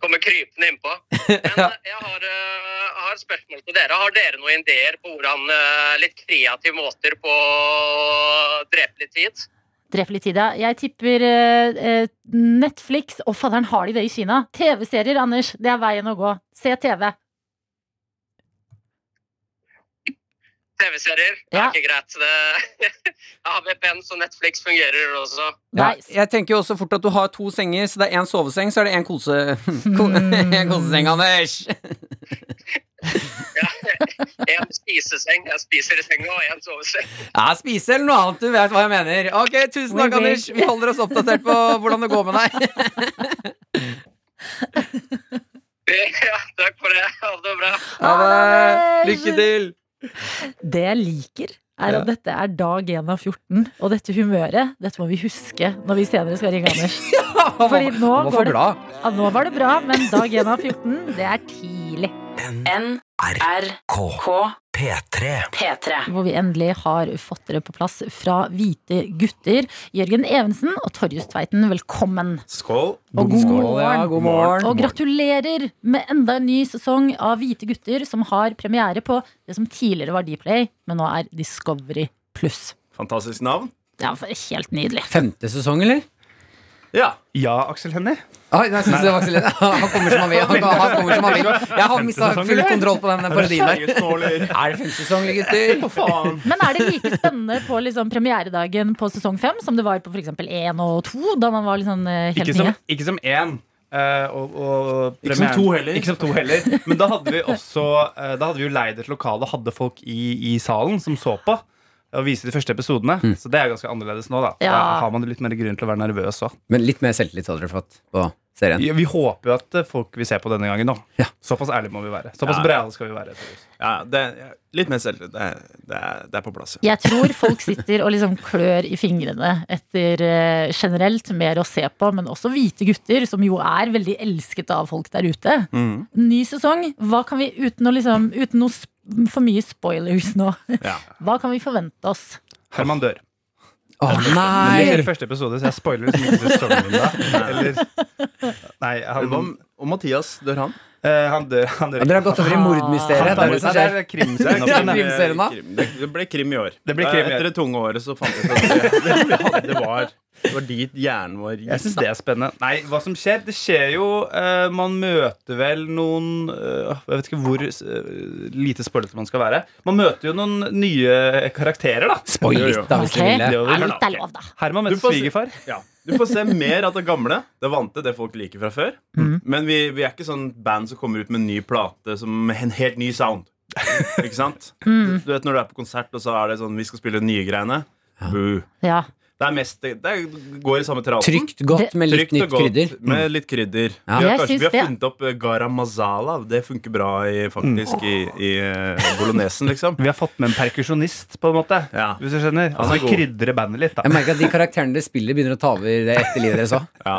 G: kommer krypende innpå. Men
C: Ja.
G: eh, jeg har, eh, har et spørsmål til dere. Har dere noen ideer på hvordan eh, litt kreative måter på å drepe litt tid?
B: Drep litt tid, ja. Jeg tipper eh, eh, Netflix. Å, fadderen, har de det i Kina? TV-serier, Anders. Det er veien å gå. Se TV.
G: TV-serier? Det
B: Ja.
G: er ikke greit. Det, Jeg har VPN, så Netflix fungerer også.
C: Ja,
B: Nice.
C: jeg tenker jo også fort at du har to senger, så det er én soveseng, så er det én kose... ko- en koseseng, Anders.
G: En spiseseng. Jeg spiser i senga, og en soveseng.
C: Ja, spise eller noe annet, du vet hva jeg mener. Ok,
B: Wink,
C: tusen takk,
B: wink.
C: Anders. Vi holder oss oppdatert på hvordan det går med deg.
G: Ja, takk for det. Ha det bra.
C: Ha det. Lykke til.
B: Det jeg liker, er
C: Ja.
B: at dette er dag 1 av 14. Og dette humøret dette må vi huske når vi senere skal ringe Anders. Fordi nå
C: Han var
B: går
C: for
B: det-
C: glad.
B: Ja, nå var det bra, men dag 1 av 14, det er tidlig.
H: NRK P3.
D: P3.
B: Hvor vi endelig har fått dere på plass fra Hvite gutter. Jørgen Evensen og Torjus Tveiten, velkommen.
H: Skål.
B: Og god
C: Skål, ja,
B: morgen.
C: god morgen.
B: Og gratulerer med enda en ny sesong av Hvite gutter, som har premiere på det som tidligere var Dplay, men nå er Discovery pluss.
H: Fantastisk navn.
B: Ja, for- helt nydelig.
C: Femte sesong, eller?
H: Ja. Ja, Aksel Hennie.
C: Oi, nei, jeg synes det var så lett. Han kommer som han vil. Han, han kommer som han vil. Jeg har mista
H: sesong,
C: full
H: eller?
C: kontroll på den parodien der.
H: Skjæresnåler.
C: Er det femte sesong, gutter?
H: Hva faen?
B: Men er det like spennende på liksom premieredagen på sesong fem som det var på f.eks. én og to, da man var litt sånn eh, helt
I: Ikke som,
B: nye?
I: ikke som én. eh, og, og
H: Ikke som
I: premieren-
H: to heller.
I: Ikke som to heller. Men da hadde vi også eh, Da hadde vi jo leid et lokale, hadde folk i, i salen som så på. Og viste de første episodene. Så det er ganske annerledes nå. da Da
B: Mm. Ja.
I: har man litt mer grunn til å være nervøs også.
C: Men litt mer selvtillit hadde dere fått på serien.
I: Ja, Vi håper jo at eh, folk vil se på denne gangen. da
C: Ja.
I: Såpass ærlige må vi være. Såpass
H: Ja.
I: breiale skal vi være. Torjus.
H: Ja, det, er- litt mer selvtillit. Det, er- det, er- det er på plass. ja.
B: Jeg tror folk sitter og liksom klør i fingrene etter eh, generelt mer å se på, men også hvite gutter, som jo er veldig elsket av folk der ute.
H: Mhm.
B: Ny sesong, hva kan vi uten, å liksom, uten noe sp- for mye spoilers nå,
H: Ja.
B: hva kan vi forvente oss?
I: Herman dør.
C: Å
I: Men det skjer
C: nei!
I: i første episode, så jeg spoiler liksom ikke sesongen da. Eller Nei,
H: Men
I: han,
H: hva om- Og Mathias, dør han?
I: eh, han dør. Han dør.
C: Dere har gått over i mordmysteriet. Det er det som skjer.
I: er krimserien.
C: Det er krimserien, da.
H: Krim- Det det ble krim i år.
I: Det ble krim i år.
H: Etter det tunge året så fant vi ut at det, det, vi hadde, det, var, det var dit hjernen vår gikk.
I: Jeg syns det er spennende. Nei, hva som skjer? Det skjer jo eh, Man møter vel noen eh, Jeg vet ikke hvor eh, lite spoilete man skal være. Man møter jo noen nye karakterer, da.
C: Spoil litt, da, hvis
B: Ok,
C: dere ville.
I: Det var
B: er
I: vel-
B: litt er lov, da.
I: Herman møter
H: Du får se-
I: svigerfar.
H: Ja. Du får se mer av det gamle, det vante, det folk liker fra før.
C: Mm.
H: Men vi, vi er ikke sånn band som kommer ut med en ny plate som en helt ny sound. Ikke sant?
C: Mm.
H: Du vet når du er på konsert, og så er det sånn Vi skal spille de nye greiene. Boo.
B: Ja.
H: Det er mest Det, det går i samme traten.
C: Trygt godt med litt
H: Trygt og
C: nytt krydder. Mm.
H: Med litt krydder.
C: Ja.
H: Vi har,
B: Jeg
H: kanskje,
B: syns
H: vi har
B: det-
H: funnet opp eh, garam masala. Det funker bra i, faktisk i,
C: Mm.
H: i eh, bolognesen, liksom.
I: Vi har fått med en perkusjonist, på en måte.
H: Ja.
I: Hvis du skjønner.
H: Han er
I: Altså
H: god. Mm.
I: krydre bandet litt, da.
C: Jeg merker at de karakterene dere spiller, begynner å ta over det ekte livet deres òg.
H: Ja.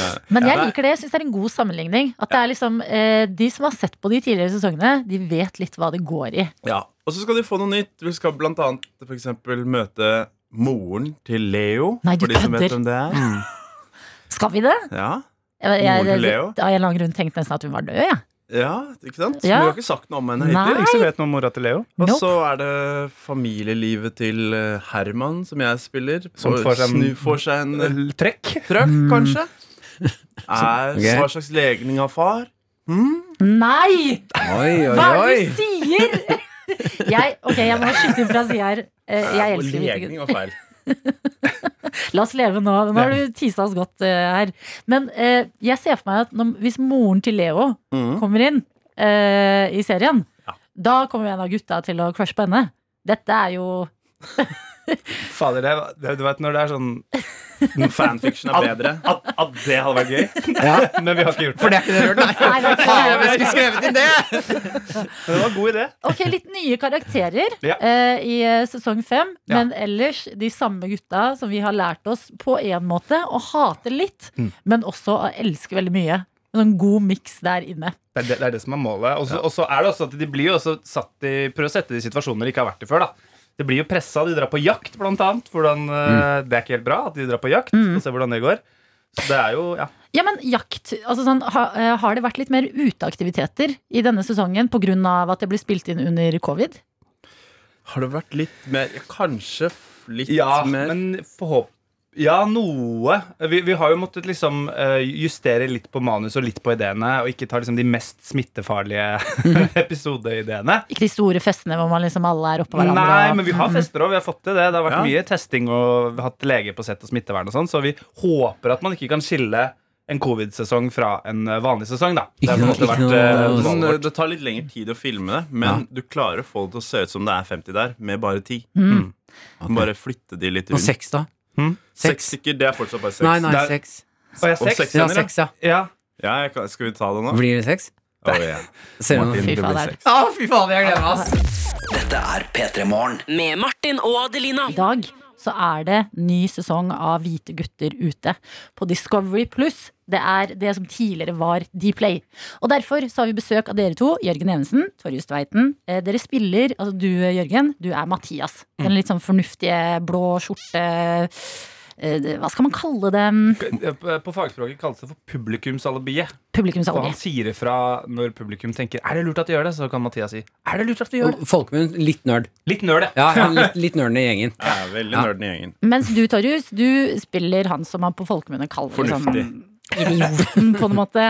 H: Ja.
B: Men jeg
H: Ja.
B: liker det. Jeg syns det er en god sammenligning. At det er liksom, eh, De som har sett på de tidligere sesongene, de vet litt hva det går i.
H: Ja, Og så skal de få noe nytt. Vi skal blant annet for eksempel møte moren til Leo.
B: Nei, du
H: for de som
B: kødder.
H: vet hvem det er.
I: Mm.
B: Skal vi det?
H: Ja,
B: Jeg,
H: Moren til Leo?
B: Av en eller annen grunn tenkte nesten at hun var død, jeg.
H: ja ikke sant?
B: Ja.
H: Men vi har ikke sagt noe om henne
B: Nei.
H: hittil. liksom.
I: Ikke så vet noe om mora til Leo.
H: Og
B: Nope.
H: så er det familielivet til eh, Herman, som jeg spiller.
I: Som
H: Og
I: får seg en- Mm.
H: snu får seg en eh,
I: L- Trekk.
H: trøkk, kanskje. Er,
C: Ok.
H: Hva slags legning av far?
B: Nei!
C: Oi, oi,
B: Hva er
C: oi.
B: det du sier?! jeg, ok, jeg må skyte inn fra sida her. Eh, Jeg elsker hvite gutter.
H: legning var feil.
B: La oss leve nå. Nå har du tisa oss godt eh, her. Men eh, jeg ser for meg at når, hvis moren til Leo
H: Mhm.
B: kommer inn eh, i serien,
H: Ja.
B: da kommer en av gutta til å crushe på henne. Dette er jo
I: Fader, det, var- det, du vet når det er sånn
H: Fanfiction er bedre.
I: At, at det hadde vært gøy.
C: Ja,
I: Men vi har ikke gjort det.
C: for det er ikke det dere hørte? Nei.
B: Nei, nei,
C: Faen,
B: nei.
C: jeg skulle skrevet inn det!
I: Men det var en god idé.
B: Ok, litt nye karakterer
I: Ja.
B: eh, i eh, sesong fem.
I: Ja.
B: Men ellers de samme gutta som vi har lært oss på én måte å hate litt,
I: Mm.
B: men også å elske veldig mye. En sånn god miks der inne.
I: Det er det, det er det som er målet. Og så- Og så er det også at de blir jo også satt i Prøv å sette de i situasjoner de ikke har vært i før. da De blir jo pressa. De drar på jakt, blant annet. Hvordan,
H: Mm.
I: eh, Det er ikke helt bra at de drar på jakt. Og se hvordan det går. Så det er jo, ja
B: Ja, men jakt. Altså sånn, ha, eh, har det vært litt mer uteaktiviteter i denne sesongen pga. at det blir spilt inn under covid?
H: Har det vært litt mer Kanskje litt
I: Ja,
H: mer
I: men forhåp Ja, noe. Vi, vi har jo måttet liksom eh, justere litt på manus og litt på ideene, og ikke ta liksom de mest smittefarlige episodeideene.
B: Ikke de store festene hvor man liksom alle er oppå hverandre.
I: Nei,
B: og-
I: men vi har fester òg. Vi har fått til det. Det har vært
H: Ja.
I: mye testing og vi har hatt lege på sett og smittevern og sånn, så vi håper at man ikke kan skille en covid-sesong fra en eh, vanlig sesong, da. Det har på en måte
C: Ikke
I: vært
C: noe-
I: eh,
C: ikke
I: målet
H: Men, eh,
I: vårt.
H: det tar litt lengre tid å filme det, men du klarer å få det til å se ut som det er 50 der, med bare 10.
B: Mm.
H: Du må Bare flytte de litt
C: Og
H: rundt.
C: seks, da?
I: Hm?
H: Seks
C: Seks?
H: stykker, det er fortsatt bare seks.
C: Nei, nei,
I: Det er-
C: seks.
I: Og jeg
H: Og
I: har seks
H: seks
C: Ja,
I: scener,
C: seks, ja.
I: ja.
H: Ja, jeg kan, skal vi ta det nå?
C: Blir det seks?
H: Å, ja.
C: Ser du noe?
H: Martin,
B: Fy
H: det blir
B: fader.
H: seks.
C: Å, fy faen, jeg gleder meg, ass!
D: Dette er P3 Morgen. Med Martin og Adelina.
B: I dag så er det ny sesong av Hvite gutter ute på Discovery Pluss. Det er det som tidligere var Dplay. Og derfor så har vi besøk av dere to, Jørgen Evensen, Torjus Tveiten. Eh, Dere spiller, altså du Jørgen, du er Mathias. Den litt sånn fornuftige blå skjorte eh, det- Hva skal man kalle det?
I: På fagspråket kalles det for publikumsalibiet. Og han
B: Publikumsalder.
I: sier ifra når publikum tenker 'er det lurt at de gjør det', så kan Mathias si 'er det lurt at vi gjør det'?
C: Folkemunn, litt nerd.
I: Litt nøl, det.
C: Ja, han er litt, litt nerden i
H: Jeg
C: gjengen.
H: er veldig
C: Ja.
H: nerden i gjengen.
B: Mens du, Torjus, du spiller han som man på folkemunne kaller liksom,
H: Fornuftig.
B: idioten, på en måte.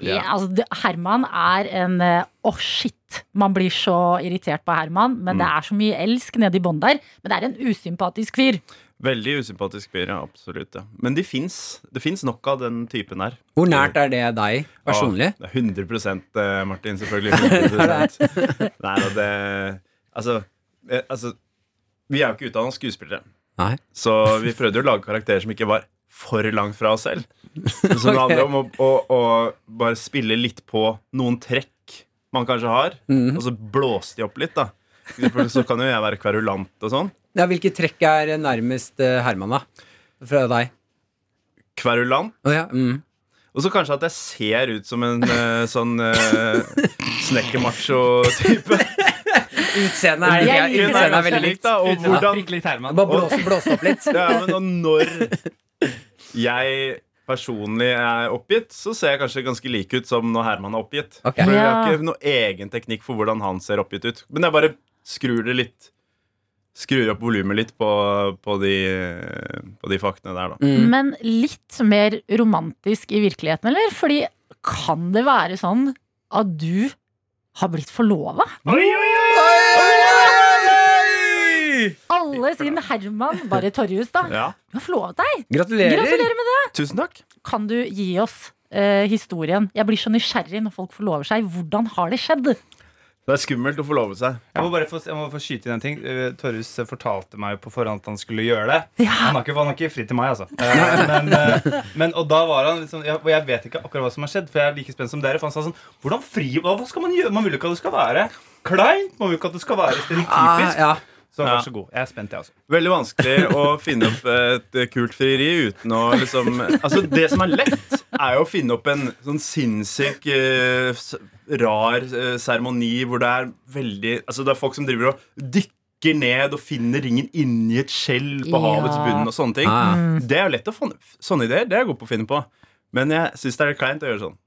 H: Ja.
B: Ja, altså, det- Herman er en eh, Å, shit! Man blir så irritert på Herman,
H: Mm.
B: men det er så mye elsk nede i bånn der. Men det er en usympatisk fyr.
H: Veldig usympatisk fyr, ja. Absolutt. Ja. Men de fins. Det fins nok av den typen her.
C: Hvor nært er det deg personlig?
H: Ja, det er 100 eh, Martin, selvfølgelig. 100%. Nei, og det Altså, eh, altså Vi er jo ikke utdanna skuespillere,
C: Nei.
H: så vi prøvde jo å lage karakterer som ikke var for langt fra oss selv. Så det handler om å, å, å bare spille litt på noen trekk man kanskje har,
C: Mhm.
H: og så blåse de opp litt, da. For eksempel Så kan jo jeg være kverulant og sånn.
C: Ja, Hvilke trekk er nærmest eh, Herman, da? Fra deg?
H: Kverulant.
C: Å ja. Mm.
H: Og så kanskje at jeg ser ut som en eh, sånn eh, snekkermacho-type.
C: Utseendet er,
B: Jeg liker
C: utseendet er veldig likt.
H: da. Og hvordan
I: Prikk litt Herman.
C: Bare blåse, blåse opp litt.
H: Ja, men og når jeg personlig er oppgitt, så ser jeg kanskje ganske lik ut som når Herman er oppgitt.
C: Ok.
H: For jeg har
B: Ja.
H: ikke noen egen teknikk for hvordan han ser oppgitt ut. Men jeg bare skrur det litt Skrur opp volumet litt på, på, de, på de faktene der, da.
C: Mm.
B: Men litt mer romantisk i virkeligheten, eller? Fordi kan det være sånn at du har blitt forlova? Alle sin Herman, bare Torjus, da.
H: Ja.
B: Du har forlovet deg!
C: Gratulerer.
B: Gratulerer med det!
H: Tusen takk.
B: Kan du gi oss eh, historien? Jeg blir så nysgjerrig når folk forlover seg. Hvordan har det skjedd?
H: Det er skummelt å forlove seg.
I: Jeg må bare få, jeg må få skyte inn en ting. Eh, Torjus fortalte meg jo på forhånd at han skulle gjøre det.
B: Ja.
I: Han har ikke, han har ikke fri til meg, altså. Eh, Men, eh, men, og da var han liksom jeg, Og jeg vet ikke akkurat hva som har skjedd, for jeg er like spent som dere. For han sa sånn Hvordan fri Hva hva skal man gjøre? Man vil jo ikke at det skal være kleint. Man vil jo ikke at det skal være
C: Ah,
I: stereotypisk.
C: ja.
I: Så
H: Ja.
I: vær så god. Jeg er spent, jeg også.
H: Veldig vanskelig å finne opp et kult frieri uten å liksom Altså, det som er lett, er jo å finne opp en sånn sinnssyk eh, s- rar eh, seremoni hvor det er veldig Altså, det er folk som driver og dykker ned og finner ringen inni et skjell på
B: Ja.
H: havets bunn og sånne ting.
C: Ah, ja.
H: Det er jo lett å få Sånne ideer, det er jeg god på å finne på. Men jeg syns det er litt kleint å gjøre sånn.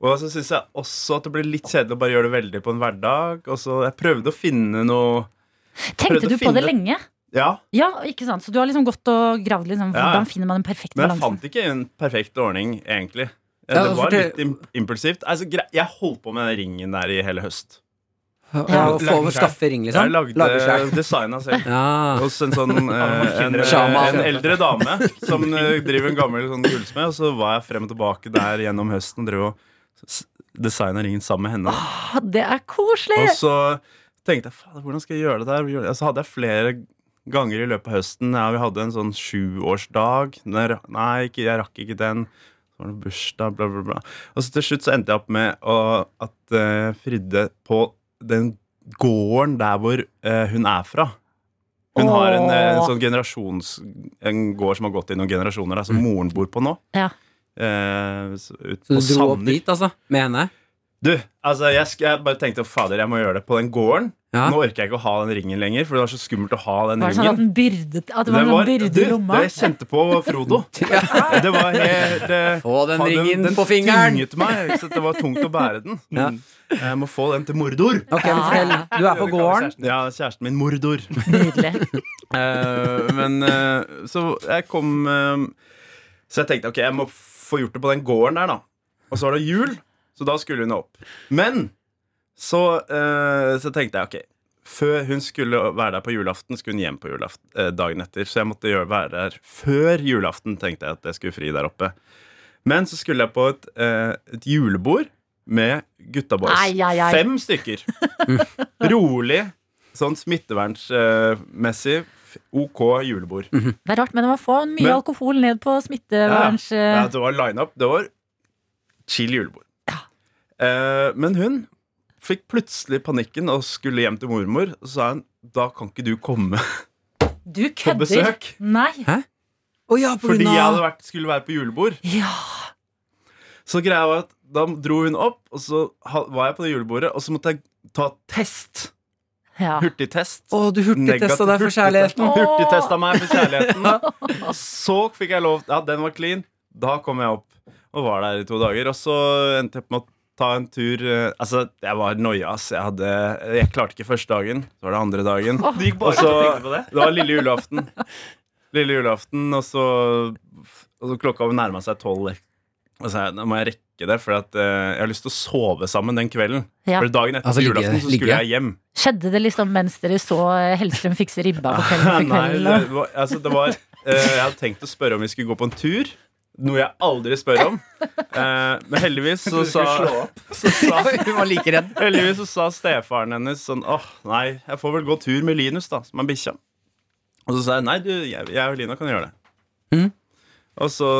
H: Og så syns jeg også at det blir litt kjedelig å bare gjøre det veldig på en hverdag. Og så Jeg prøvde å finne noe
B: Tenkte
H: Prøvde å
B: du på det
H: finne-
B: lenge?
H: Ja,
B: Ja, ikke sant? Så du har liksom gått og gravd litt sånn,
H: Ja, ja.
B: hvordan finner man den perfekte
H: Men
B: balansen?
H: jeg fant ikke en perfekt ordning, egentlig.
C: Ja,
H: det var
C: fortell-
H: litt im- impulsivt. Altså, gre- jeg holdt på med den ringen der i hele høst.
C: Å få skaffe ring,
H: Jeg
C: liksom? Lage
H: lagde
C: skjær.
H: designa selv.
C: Ja.
H: Hos en sånn eh, en,
C: Sjaman.
H: en eldre dame som eh, driver en gammel sånn gullsmed. Og så var jeg frem og tilbake der gjennom høsten og drev og s- designa ringen sammen med henne.
B: Å, Ah, det er koselig!
H: Og så tenkte jeg fader, hvordan skal jeg gjøre det der? Gjøre det? Så hadde jeg flere ganger i løpet av høsten. Ja, vi hadde en sånn sjuårsdag. Men jeg ra- Nei, ikke, jeg rakk ikke den. Så var det bursdag, bla, bla, bla. Og så til slutt så endte jeg opp med å, at eh, Fride på den gården der hvor eh, hun er fra. Hun har en, eh,
B: Åh.
H: sånn generasjons... En gård som har gått i noen generasjoner, da, som moren bor på nå.
B: Ja.
H: Eh, s- ut på
C: Mm. Så du dro opp
H: Sanner.
C: dit, altså? Med henne?
H: Du, altså jeg, sk- jeg bare tenkte Fader, jeg må gjøre det på den gården
C: Ja.
H: Nå orker jeg ikke å ha den ringen lenger For det var så skummelt å ha den
B: Var det sånn at
H: ringen
B: den byrdet At det var en byrde i
H: du,
B: lomma?
H: det jeg kjente på Frodo Det var helt eh,
C: Få den
H: faen,
C: ringen på fingeren.
H: tynget meg ikke sant? Det var tungt å bære den Mm.
C: Ja.
H: Jeg må få den til Mordor
C: Ok, men fortell. Du er på gården.
H: Ja, kjæresten min Mordor
B: Nydelig.
H: Eh, men eh, Så jeg kom eh, Så jeg tenkte ok, jeg må få gjort det på den gården der, da. Og så var det jul, så da skulle hun opp. Men så, eh, så tenkte jeg ok før hun skulle være der på julaften, skulle hun hjem på julaften eh, dagen etter. Så jeg måtte gjøre, være der før julaften, tenkte jeg at jeg skulle fri der oppe. Men så skulle jeg på et, eh, et julebord med gutta boys.
B: Ai, ai, ai.
H: Fem stykker. Rolig, sånn smittevernsmessig OK julebord.
B: Det er rart, men det var få mye
H: Men-
B: alkohol ned på eh, smitteverns...
H: Ja, det var line-up. Det var chill julebord. Eh, men hun fikk plutselig panikken og skulle hjem til mormor. Og så sa hun da kan ikke du komme
B: Du
H: på
B: kødder!
H: besøk.
B: Nei.
C: Å ja, på
H: Fordi
C: grunn
H: jeg hadde
C: av
H: vært, skulle være på julebord.
B: Ja.
H: Så greia var at da dro hun opp, og så ha- var jeg på det julebordet, og så måtte jeg ta test.
B: ja.
H: Hurtigtest.
C: Å, du hurtigtesta deg for
H: Hurtigtest-
C: kjærligheten.
H: Hurtigtesta meg for kjærligheten. Og så fikk jeg lov Ja, den var clean. Da kom jeg opp og var der i to dager. Og så endte jeg på med å ta en tur eh, Altså, jeg var noia, ass. Jeg, hadde, jeg klarte ikke første dagen. Så var det andre dagen.
I: Du gikk bare
H: Og så-
I: og tenkte på det?
H: Det var lille julaften. Lille julaften, og så, og så klokka nærma seg tolv. Og så sa jeg, nå må jeg rekke det, for at, eh, jeg har lyst til å sove sammen den kvelden.
B: Ja.
H: For dagen etter
C: Altså, ligge-
H: julaften så
C: ligge?
H: skulle jeg hjem.
B: Skjedde det liksom mens dere så eh, Hellstrøm fikse ribba på kvelden? For
H: Nei,
B: kvelden
H: det
B: og-
H: var, altså, det var eh, Jeg hadde tenkt å spørre om vi skulle gå på en tur. Noe jeg aldri spør om. Eh, men heldigvis så sa, så sa
C: Hun var like redd.
H: Heldigvis så sa stefaren hennes sånn Åh, nei, jeg får vel gå tur med Linus, da, som er bikkja. Og så sa jeg nei, du, jeg, jeg og Lina kan gjøre det.
C: Mhm.
H: Og så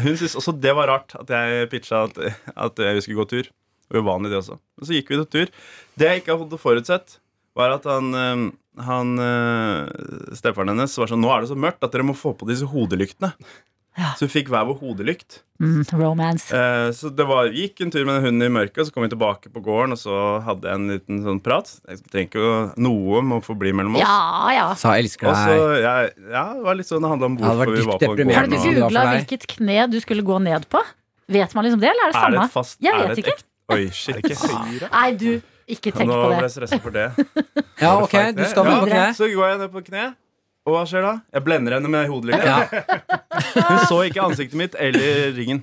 H: Hun syntes også det var rart at jeg pitcha at, at vi skulle gå tur. Uvanlig, det også. Og så gikk vi til tur. Det jeg ikke hadde forutsett, var at han, eh, han eh, Stefaren hennes var sånn Nå er det så mørkt at dere må få på disse hodelyktene. Så vi fikk hver vår hodelykt.
B: Mm, romance.
H: Eh, så det var, vi gikk en tur med den hunden i mørket, og så kom vi tilbake på gården, og så hadde jeg en liten sånn prat. Jeg trenger ikke å- noe om å forbli mellom oss.
B: Ja, ja.
C: Sa jeg elsker
H: Og så,
C: deg.
H: jeg, ja, det var litt sånn, det handla om
C: Ja, det var
H: hvorfor vi var på
C: dypt deprimerende.
B: Har du
H: gården. og-
C: det var
B: googla
C: for deg.
B: hvilket kne du skulle gå ned på? Vet man liksom det, eller er det
H: Er det
B: samme?
H: et fast
B: Jeg
H: er
B: vet
H: det et
B: ikke.
H: Ek, oi, shit.
B: Nei, du, ikke tenk
H: Nå
B: på
H: ble
B: det.
H: jeg stressa for det.
C: Ja, ok, du skal
H: ja,
C: vel på kne.
H: Så går jeg ned på kne, og hva skjer da? Jeg blender henne med hodelykta.
C: Ja.
H: Hun så ikke ansiktet mitt eller ringen.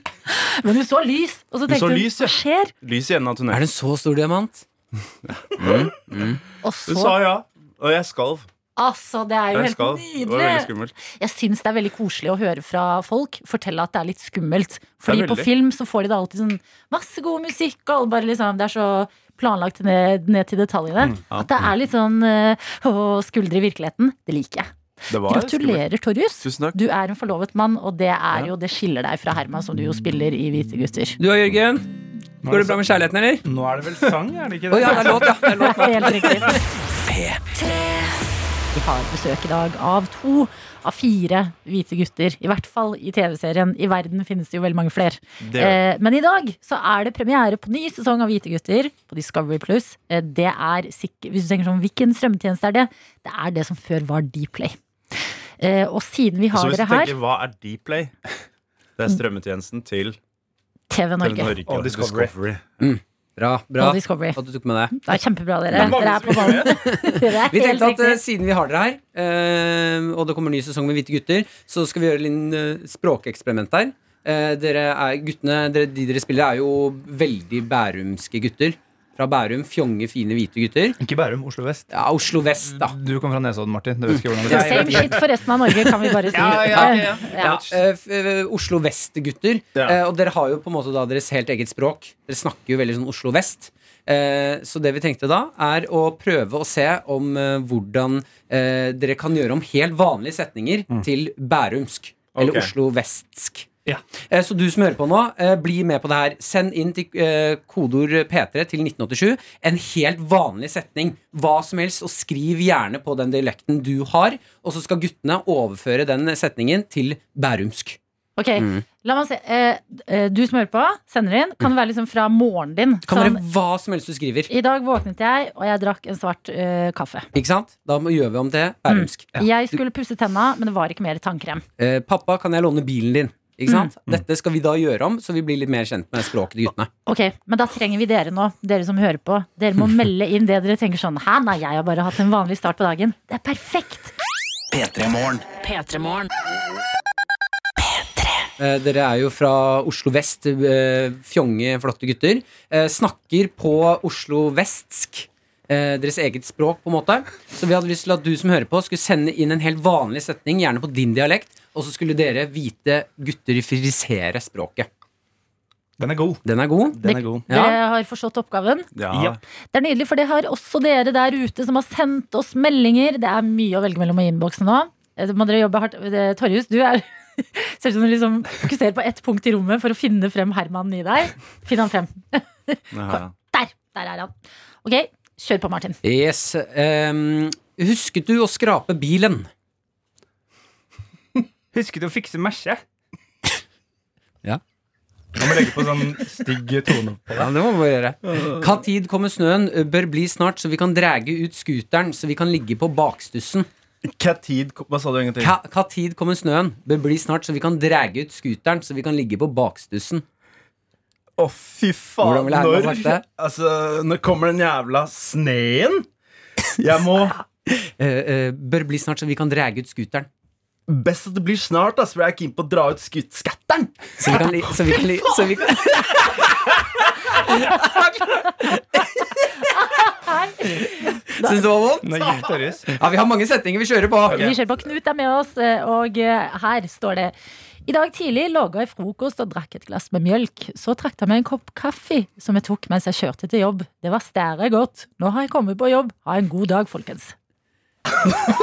B: Men hun så lys, og så
H: så
B: tenkte hun,
H: lys, ja.
B: hva skjer?
H: Lys i enden av
C: Er
H: tunnelen.
C: det en så stor diamant?
B: Og
H: Hun
B: så,
H: sa ja, og jeg skalv.
B: altså, det er jo
H: Jeg
B: helt
H: skalv. Det var veldig
B: nydelig.
H: skummelt.
B: Jeg syns det er veldig koselig å høre fra folk fortelle at det er litt skummelt. Fordi
H: Det er
B: på
H: veldig.
B: film så får de da alltid sånn masse god musikk, og alle bare liksom Det er så planlagt ned, ned til
H: Mm,
B: detaljene. At det er litt sånn eh, å, skuldre i virkeligheten. Det liker jeg.
H: Det var skummelt.
B: Gratulerer, Torjus.
H: Tusen takk.
B: Du er en forlovet mann, og det er jo Det skiller deg fra Herman, som du jo spiller i Hvite gutter.
C: Du og Jørgen, går det bra med kjærligheten, eller?
I: Nå er det vel sang, er det ikke
C: Å
I: det?
C: ja, det er låt, ja. Det er låt.
B: Det er helt riktig. Vi har besøk i dag av to av fire hvite gutter. I hvert fall i TV-serien. I verden finnes det jo veldig mange flere.
H: Det gjør
B: Eh, men i dag så er det premiere på ny sesong av Hvite gutter på Discovery Plus. Eh, det er sikk- hvis du tenker sånn, Hvilken strømmetjeneste er det? Det er det som før var Dplay. Eh, og siden vi
H: Så
B: har
H: Altså, hvis du
B: dere her,
H: tenker, hva er Dplay? Det er strømmetjenesten til
B: TV Norge
H: Norge
I: Og Discovery.
C: Bra, bra
B: og Discovery.
C: at du tok med det.
B: Det er kjempebra, dere. Dere er på ballen. Dere er
C: Vi
B: helt
C: tenkte at eh,
B: riktig.
C: siden vi har dere her, eh, og det kommer ny sesong med Hvite gutter, så skal vi gjøre et lite språkeksperiment der. Eh, dere er, guttene, dere, de dere spiller, er jo veldig bærumske gutter. Fra Bærum. Fjonge, fine, hvite gutter.
I: Ikke Bærum, Oslo vest.
C: Ja, Oslo vest, da.
I: Du kommer fra Nesodden, Martin. Du vet ikke hvordan det
C: Ja,
I: er.
C: jeg vet
B: Same shit for resten av Norge, kan vi bare si.
I: Ja, ja, ja,
C: Ja, eh, f- eh, Oslo Vest-gutter.
H: Ja.
C: Eh, og dere har jo på en måte da deres helt eget språk. Dere snakker jo veldig sånn Oslo Vest. Eh, så det vi tenkte da, er å prøve å se om eh, hvordan eh, dere kan gjøre om helt vanlige setninger til bærumsk. Eller
H: Mm. Ok.
C: Oslo Vestsk.
I: Ja.
C: Eh, Så du som hører på nå, eh, bli med på det her. Send inn til eh, kodord P3 til 1987 en helt vanlig setning. Hva som helst, og skriv gjerne på den dialekten du har. Og så skal guttene overføre den setningen til bærumsk.
B: Ok,
C: Mm.
B: la meg se. Eh, eh, du som hører på, sender inn. Kan det være liksom fra morgenen din?
C: Kan
B: Sånn,
C: være hva som helst du skriver.
B: I dag våknet jeg, og jeg drakk en svart eh, kaffe.
C: Ikke sant? Da må- gjør vi om til bærumsk.
B: Jeg skulle pusse tenna, men det var ikke mer tannkrem.
C: Eh, pappa, kan jeg låne bilen din? Ikke sant? Dette skal vi da gjøre om, så vi blir litt mer kjent med språket til guttene.
B: Ok, Men da trenger vi dere nå, dere som hører på. Dere må melde inn det dere tenker sånn Hæ, nei, jeg har bare hatt en vanlig start på dagen. Det er perfekt!
D: P3-morgen.
A: P3morgen.
C: Eh, Dere er jo fra Oslo vest, eh, fjonge, flotte gutter. Eh, snakker på Oslo vestsk. Eh, deres eget språk, på en måte. Så vi hadde lyst til at du som hører på, skulle sende inn en helt vanlig setning, gjerne på din dialekt, og så skulle dere hvite gutter frisere språket.
I: Den er god.
C: Den er god.
I: Den er god.
C: Ja.
B: Dere har forstått oppgaven.
I: Ja.
B: Det er nydelig, for det har også dere der ute som har sendt oss meldinger. Det er mye å velge mellom i innboksen nå. Eh, Må dere jobbe hardt. Det- Torjus, du er Ser ut som du liksom fokuserer på ett punkt i rommet for å finne frem Herman i deg. Finn han frem.
I: Ja.
B: Der! Der er han. Ok, kjør på, Martin.
C: Yes. ehm, husket du å skrape bilen?
I: Husker du å fikse mesje?
C: Ja.
I: Man må legge på sånn stygg tone.
C: Ja, det må vi gjøre. Hva tid kommer snøen? Bør bli snart, så vi kan drage ut skuteren, så vi kan ligge på bakstussen.
I: Hva tid Hva sa du egentlig?
C: Hva, hva tid kommer snøen? Bør bli snart, så vi kan drage ut skuteren, så vi kan ligge på bakstussen.
I: Å, fy faen.
C: Hvordan ville Herman sagt det?
I: altså, når kommer den jævla sneen? Jeg må
C: Eh, eh, bør bli snart, så vi kan drage ut skuteren.
I: Best at det blir snart, ass, for jeg er keen på å dra ut skutt skatteren.
C: Så vi kan li- Så vi kan li- så vi kan Syns du det var vondt? Ja, vi har mange setninger vi kjører på.
B: Vi kjører på. Knut er med oss, eh, og eh, her står det I dag tidlig lå jeg i frokost og drakk et glass med mjølk. Så trakk jeg meg en kopp kaffe som jeg tok mens jeg kjørte til jobb. Det var stære godt. Nå har jeg kommet på jobb. Ha en god dag, folkens.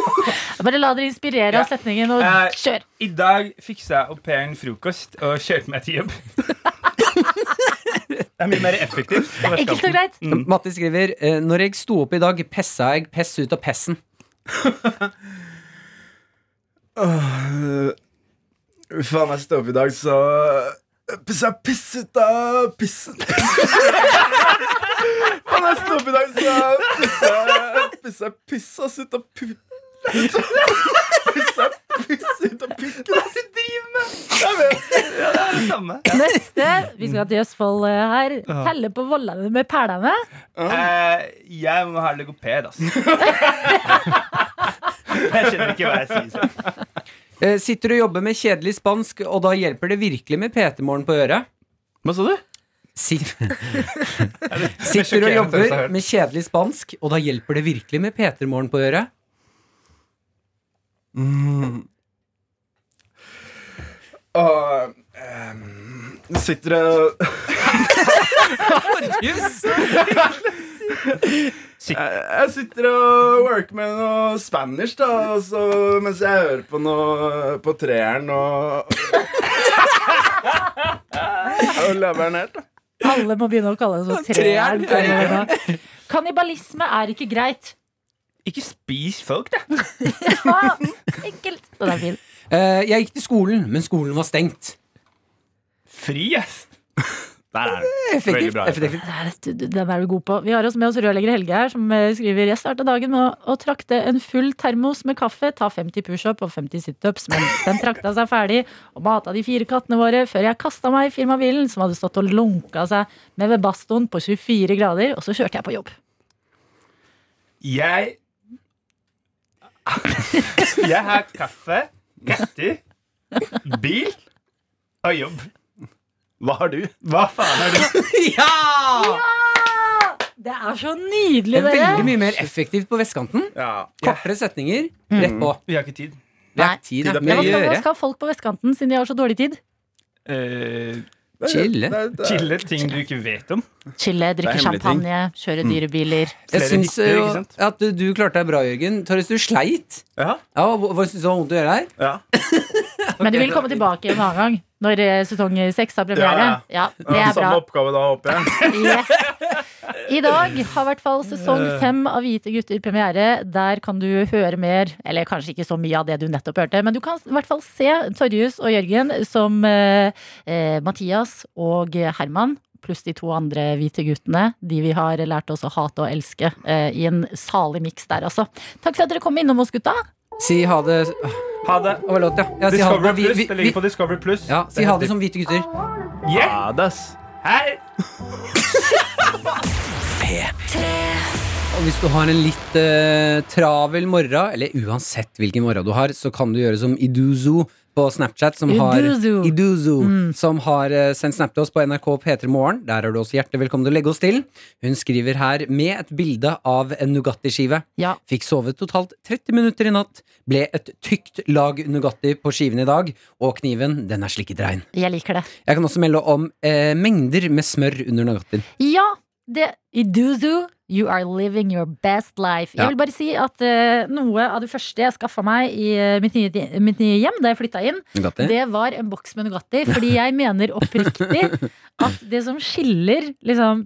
B: Jeg Bare la dere inspirere av setningen, og
I: Eh,
B: kjør.
I: I dag fiksa jeg au pairen frokost og kjørte meg til jobb. det er mye mer effektivt. på
B: Enkelt og
I: vertskanten.
B: greit.
C: Matti skriver eh, Når jeg sto opp i dag, pessa jeg pess ut av pessen.
I: Øh, Faen, jeg står opp i dag, så eh, Pissa piss ut av pissen. Faen, jeg står opp i dag, så pissa Pissa piss ass ut av pu... Pissa piss ut av pikken. Hva er det du driver med? Jeg vet. Ja, det er det samme.
B: Neste. Vi skal til Østfold eh, her. Telle på vollene med pælene.
I: Eh, jeg må ha logoped, ass. jeg skjønner ikke hva jeg sier. selv.
C: Eh, sitter og jobber med kjedelig spansk, og da hjelper det virkelig med PT-morgen på øret?
I: Hva sa du?
C: Si Sitter og jobber med kjedelig spansk, og da hjelper det virkelig med PT-morgen på øret?
I: Og ehm, sitter og jeg, jeg sitter og worker med noe spanish, da, og så, mens jeg hører på noe på treeren og Og laveren her, da.
B: Alle må begynne å kalle det sånn
C: Treeren.
B: treeren. Kannibalisme er ikke greit.
I: Ikke spis folk, da.
B: Ah, enkelt. Den er fin.
C: Eh, jeg gikk til skolen, men skolen var stengt.
I: Fri, ass. Der er det. Veldig
C: Effektivt.
I: bra,
C: effektivt.
B: Nei, det- du- Den er du god på. Vi har oss med oss rørlegger Helge her, som eh, skriver Jeg starta dagen med å- å trakte en full termos med kaffe, ta 50 pushup og 50 situps mens den trakta seg ferdig, og mata de fire kattene våre før jeg kasta meg i firmabilen, som hadde stått og lunka seg med ved bastoen på 24 grader, og så kjørte jeg på jobb.
I: Jeg Jeg har kaffe, katter, bil og jobb. Hva har du? Hva faen har du?
C: Ja!
B: Det er så
C: Det
B: nydelig,
C: er veldig
B: dere!
C: mye mer effektivt på vestkanten.
I: Ja, Mm.
C: Kortere setninger, rett på.
I: Vi har ikke tid.
C: Vi har ikke tid, det er
B: Ja,
C: mye
B: hva
C: å
B: skal, hva
C: gjøre.
B: skal folk på vestkanten, siden de har så dårlig tid?
I: Eh,
C: Chille.
I: Chille ting du ikke vet om.
B: Chille, drikke
I: Det er hemmelig ting. Mm.
B: champagne, kjøre dyre biler.
C: Jeg
I: Flere
C: syns
I: hytter,
C: jo
I: ikke sant?
C: at du, du klarte deg bra, Jørgen. Torjus, du sleit.
I: Ja,
C: Ja, hva hva syns du var vondt å gjøre her?
I: ja.
B: Men du vil komme tilbake en annen gang, når eh, sesong seks har premiere? Ja, det er bra.
I: Samme oppgave da, håper jeg.
B: Yes. I dag har i hvert fall sesong fem av Hvite gutter premiere. Der kan du høre mer, eller kanskje ikke så mye av det du nettopp hørte, men du kan i hvert fall se Torjus og Jørgen som eh, eh, Mathias og Herman. Pluss de to andre hvite guttene, de vi har lært oss å hate og elske. Eh, I en salig miks der, altså. Takk for at dere kom innom oss, gutta.
C: Si ha det Åh,
I: Ha det.
C: Det var låt, ja. ja si ha det.
I: Discovery
C: Vi,
I: Plus.
C: vi,
I: Det
C: vi,
I: ligger på Discovery Plus.
C: ja, si ha det som hvite gutter.
I: Ha det, ass. Hei.
D: P3.
C: Og hvis du har en litt eh, travel morgen, eller uansett hvilken morgen du har, så kan du gjøre som Iduzo på Snapchat, som har
B: Iduzo.
C: Iduzo,
B: Mm.
C: som har eh, sendt snap til oss på NRK P3 Morgen. Der er du også hjertelig velkommen til å legge oss til. Hun skriver her med et bilde av en Nugatti-skive.
B: Ja.
C: Fikk sove totalt 30 minutter i natt. Ble et tykt lag Nugatti på skiven i dag. Og kniven, den er slikket rein.
B: Jeg liker det.
C: Jeg kan også melde om eh, mengder med smør under Nugattien.
B: Ja, det Iduzu, you are living your best life.
C: Ja.
B: Jeg vil bare si at eh, noe av det første jeg skaffa meg i eh, mitt, nye, mitt nye hjem, da jeg flytta inn,
C: Nugatti?
B: det var en boks med Nugatti. Fordi jeg mener oppriktig at det som skiller liksom,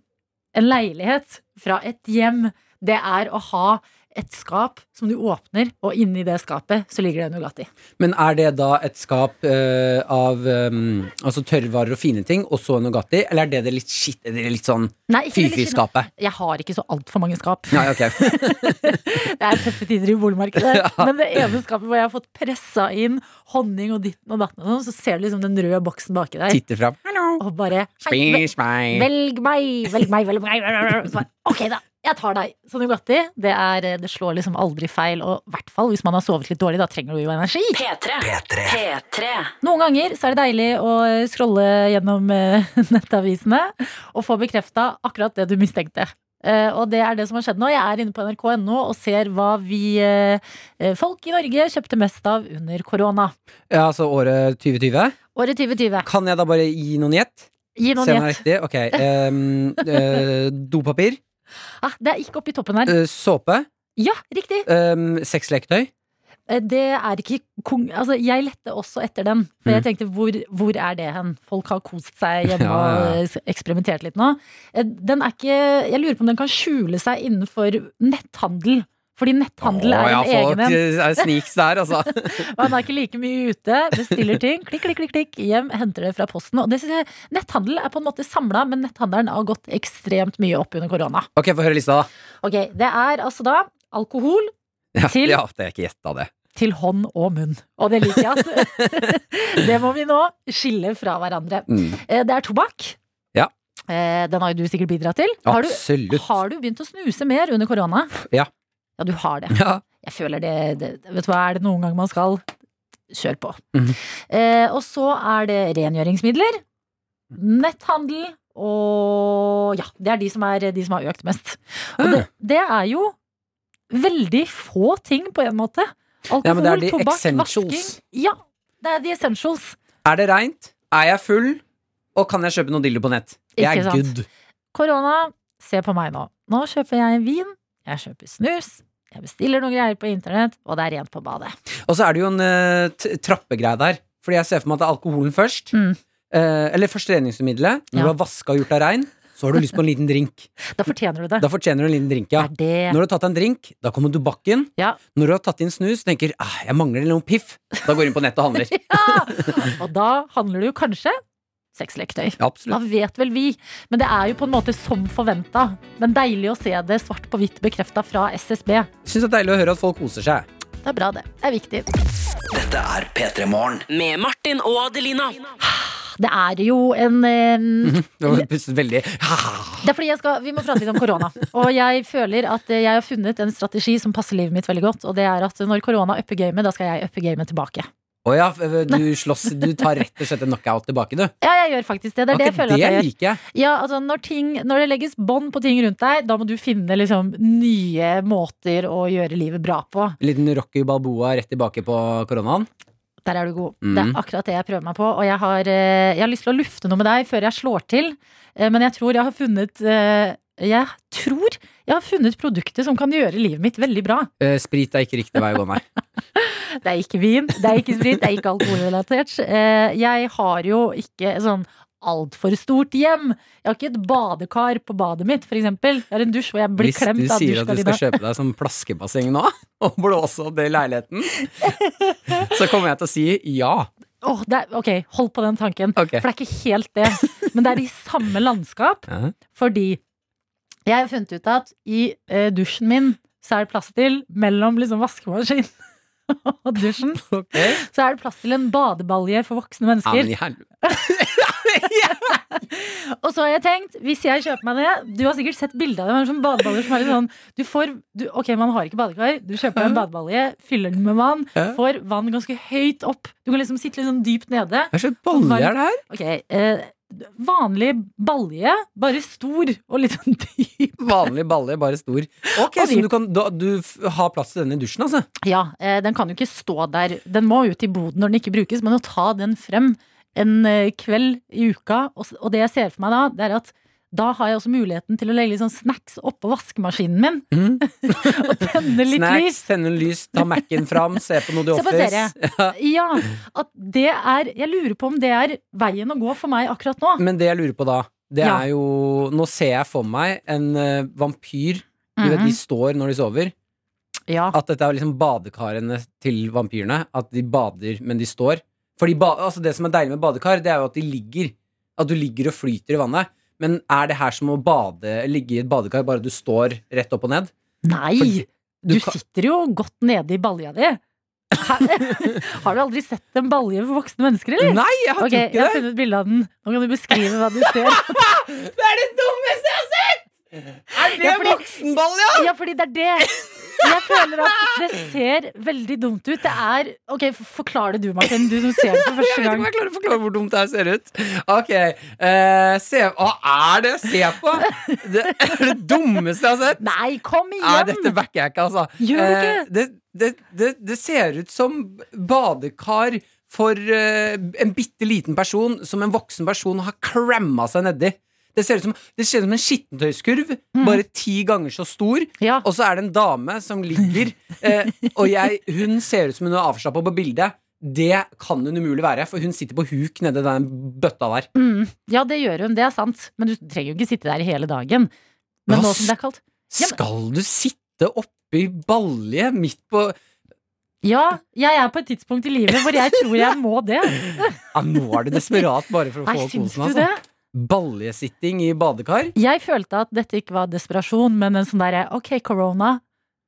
B: en leilighet fra et hjem, det er å ha et skap som du åpner, og inni det skapet så ligger det en Nugatti.
C: Men er det da et skap eh, av um, altså tørrvarer og fine ting, og så en Nugatti? Eller er det det litt shit, det litt sånn
B: Nei, ikke det litt-
C: fy-fy-skapet?
B: Jeg har ikke så altfor mange skap.
C: Nei, ok.
B: Det er tøffe tider i boligmarkedet. Men det ene skapet hvor jeg har fått pressa inn honning og ditten og datten, og sånn, så ser du liksom den røde boksen baki der.
C: Titter fram.
B: Og bare hei,
C: Spis meg!
B: Velg meg, velg meg, velg meg. Så bare, ok, da. Jeg tar deg. Så Nugatti, det, er, eh, det slår liksom aldri feil. Og i hvert fall hvis man har sovet litt dårlig, da trenger du jo energi. Noen ganger så er det deilig å eh, scrolle gjennom eh, nettavisene og få bekrefta akkurat det du mistenkte. Eh, og det er det som har skjedd nå. Jeg er inne på nrk.no og ser hva vi eh, eh, folk i Norge kjøpte mest av under korona.
C: Ja, altså året 2020.
B: Året 2020.
C: Kan jeg da bare gi noen gjett?
B: Gi noen
C: Se om det er
B: gjett.
C: riktig. Ok. em, eh, dopapir.
B: Ah, det er ikke oppe i toppen her.
C: eh, såpe.
B: Ja, riktig!
C: Um, Sexleketøy.
B: Eh, Det er ikke kong... Altså, jeg lette også etter den. For jeg tenkte, hvor, hvor er det hen? Folk har kost seg hjemme
C: Mm. Ja, ja, ja.
B: og eh, eksperimentert litt nå. Eh, Den er ikke Jeg lurer på om den kan skjule seg innenfor netthandel. Fordi netthandel
C: Å,
B: er
C: ja,
B: en egen
C: folk
B: en.
C: eh, er sniks der, altså.
B: Man er ikke like mye ute. Bestiller ting, klikk, klikk, klikk, klikk hjem, henter det fra posten. Og det, synes jeg- netthandel er på en måte samla, men netthandelen har gått ekstremt mye opp under korona.
C: Ok, få høre lista, da.
B: Ok, Det er altså da alkohol
C: Ja,
B: Til-
C: ja det er ikke gjetta, det.
B: til hånd og munn. Og det liker jeg at Det må vi nå skille fra hverandre.
C: Mm.
B: Eh, Det er tobakk.
C: Ja.
B: Eh, Den har jo du sikkert bidratt til. Har du,
C: Absolutt.
B: har du begynt å snuse mer under korona?
C: Ja.
B: Ja, du har det.
C: Ja.
B: Jeg føler det, det Vet du hva, er det noen gang man skal Kjør på.
C: Mhm.
B: Eh, og så er det rengjøringsmidler, netthandel og Ja, det er de som, er, de som har økt mest. Og det, det er jo veldig få ting, på en måte. Alkohol,
C: Ja, men det er de
B: tobakk,
C: essentials.
B: vasking. Ja, det er de essentials.
C: Er det reint? Er jeg full? Og kan jeg kjøpe noen dildo på nett? Jeg
B: Ikke
C: er
B: sant.
C: good.
B: Korona, se på meg nå. Nå kjøper jeg vin, jeg kjøper snus, jeg bestiller noen greier på internett, og det er rent på badet.
C: Og så er det jo en eh, t- trappegreie der. Fordi jeg ser for meg at det er alkoholen først.
B: Mm.
C: Eh, eller først reningsmiddelet. Når
B: Ja.
C: du har vaska og gjort deg rein, så har du lyst på en liten drink.
B: Da fortjener du det.
C: Da fortjener du en liten drink, ja.
B: Det er det.
C: Når du har tatt deg en drink, da kommer tobakken.
B: Ja.
C: Når du har tatt inn snus, tenker ah, jeg mangler noe piff. Da går du inn på nettet og handler.
B: Og da handler det jo kanskje sexleketøy. Da
C: Ja, absolutt.
B: vet vel vi, men det er jo på en måte som forventa. Men deilig å se det svart på hvitt bekrefta fra SSB.
C: Syns det er deilig å høre at folk koser seg.
B: Det er bra, det. Det er viktig.
D: Dette er P3 Morgen. Med Martin og Adelina.
B: Det er jo en eh,
C: Det var pustet veldig
B: Det er fordi jeg skal, Vi må prate litt om korona. Og jeg føler at eh, jeg har funnet en strategi som passer livet mitt veldig godt. Og det er at når korona upper gamet, da skal jeg uppe gamet tilbake.
C: Å ja, eh, du slåss. Du tar rett og slett en knockout tilbake, du.
B: Ja, jeg gjør faktisk det. Det er det jeg
C: Ok,
B: føler at jeg gjør.
C: liker jeg.
B: Ja, altså når, ting, når det legges bånd på ting rundt deg, da må du finne liksom nye måter å gjøre livet bra på.
C: En liten Rocky Balboa rett tilbake på koronaen.
B: Der er du god.
C: Mm.
B: Det er akkurat det jeg prøver meg på. Og jeg har, eh, jeg har lyst til å lufte noe med deg før jeg slår til. Eh, Men jeg tror jeg har funnet eh, Jeg tror jeg har funnet produktet som kan gjøre livet mitt veldig bra.
C: Eh, sprit er ikke riktig vei å gå, nei.
B: Det er ikke vin, det er ikke sprit, det er ikke alkoholrelatert. Eh, Jeg har jo ikke et sånn altfor stort hjem. Jeg har ikke et badekar på badet mitt, f.eks. Jeg har en dusj hvor jeg blir
C: Hvis du
B: klemt av
C: sier at du skal
B: dusjgardina.
C: kjøpe deg sånn plaskebasseng nå, og blåse opp det i leiligheten, så kommer jeg til å si ja.
B: Åh, det er, ok, hold på den tanken.
C: Ok.
B: For det er ikke helt det. Men det er i samme landskap,
C: Ja.
B: fordi jeg har funnet ut at i eh, dusjen min så er det plass til mellom liksom vaskemaskinen og dusjen.
C: Ok.
B: Så er det plass til en badebalje for voksne
C: Ja, men
B: mennesker.
C: i helvete.
B: Og så har jeg tenkt, hvis jeg kjøper meg det Du har sikkert sett bilde av det. Men sånn badeballer som er litt sånn du får, du, Ok, man har ikke badekar. Du kjøper en badebalje, fyller den med vann,
C: Ja.
B: får vann ganske høyt opp. Du kan liksom sitte litt sånn dypt nede.
C: Hva slags balle er det her?
B: Ok, eh, Vanlig balje, bare stor og litt sånn dyp.
C: Vanlig balle, bare stor.
B: Og
C: Ok, Så
B: dyp.
C: du, kan, da, du f har plass til den i dusjen, altså?
B: Ja, eh, den kan jo ikke stå der. Den må ut i boden når den ikke brukes, men å ta den frem en eh, kveld i uka, og, s- og det jeg ser for meg da, det er at da har jeg også muligheten til å legge litt sånn snacks oppå vaskemaskinen min.
C: Mhm.
B: og tenne litt
C: Snacks,
B: lys.
C: sende en lys, ta Mac-en fram, se på noe The
B: Se på
C: Office.
B: serie. Ja, at det er Jeg lurer på om det er veien å gå for meg akkurat nå.
C: Men det jeg lurer på da, det
B: Ja.
C: er jo Nå ser jeg for meg en eh, vampyr. Du vet,
B: Mhm.
C: De står når de sover.
B: Ja.
C: At dette er liksom badekarene til vampyrene. At de bader, men de står. Fordi ba altså Det som er deilig med badekar, det er jo at de ligger. At du ligger og flyter i vannet. Men er det her som å bade, ligge i et badekar, bare du står rett opp og ned?
B: Nei! Du,
C: kan-
B: sitter jo godt nede i balja di. Hæ? Har du aldri sett en balje for voksne mennesker, eller?
C: Nei, jeg har
B: Mm. Ok, jeg
C: ikke
B: har
C: det!
B: funnet bilde av den. Nå kan du beskrive hva du ser.
C: Det er det dummeste jeg har sett! Er det
B: Ja, fordi-
C: voksenball, ja?
B: Ja, fordi det er det. Jeg føler at det ser veldig dumt ut. Det er Ok, f- forklar det du, Martin. Du som ser det for
C: Jeg
B: første
C: vet ikke
B: gang.
C: om jeg klarer å forklare hvor dumt det her ser ut. Ok, eh, se, Hva er det jeg ser på? Det er det dummeste jeg har sett.
B: Nei, kom
C: Nei, dette
B: igjen!
C: backer jeg ikke, altså.
B: Gjør du ikke?
C: Eh, det, det, det, det ser ut som badekar for eh, en bitte liten person som en voksen person har klemma seg nedi. Det ser ut som, det ser ut som en skittentøyskurv,
B: Mm.
C: bare ti ganger så stor.
B: Ja.
C: Og så er det en dame som ligger, eh, og jeg, hun ser ut som hun er avslappa på bildet. Det kan hun umulig være, for hun sitter på huk nedi den bøtta der.
B: Mm, ja, det gjør hun. Det er sant. Men du trenger jo ikke sitte der hele dagen. Men
C: Hva
B: nå som det er kaldt. Ja, men-
C: Skal du sitte oppi balje midt på
B: Ja, jeg er på et tidspunkt i livet hvor jeg tror jeg må det.
C: ja, Nå er du desperat bare for å
B: Nei,
C: få
B: syns
C: kosen,
B: du
C: altså.
B: det?
C: Baljesitting i badekar?
B: Jeg følte at dette ikke var desperasjon, men en sånn derre ok, corona.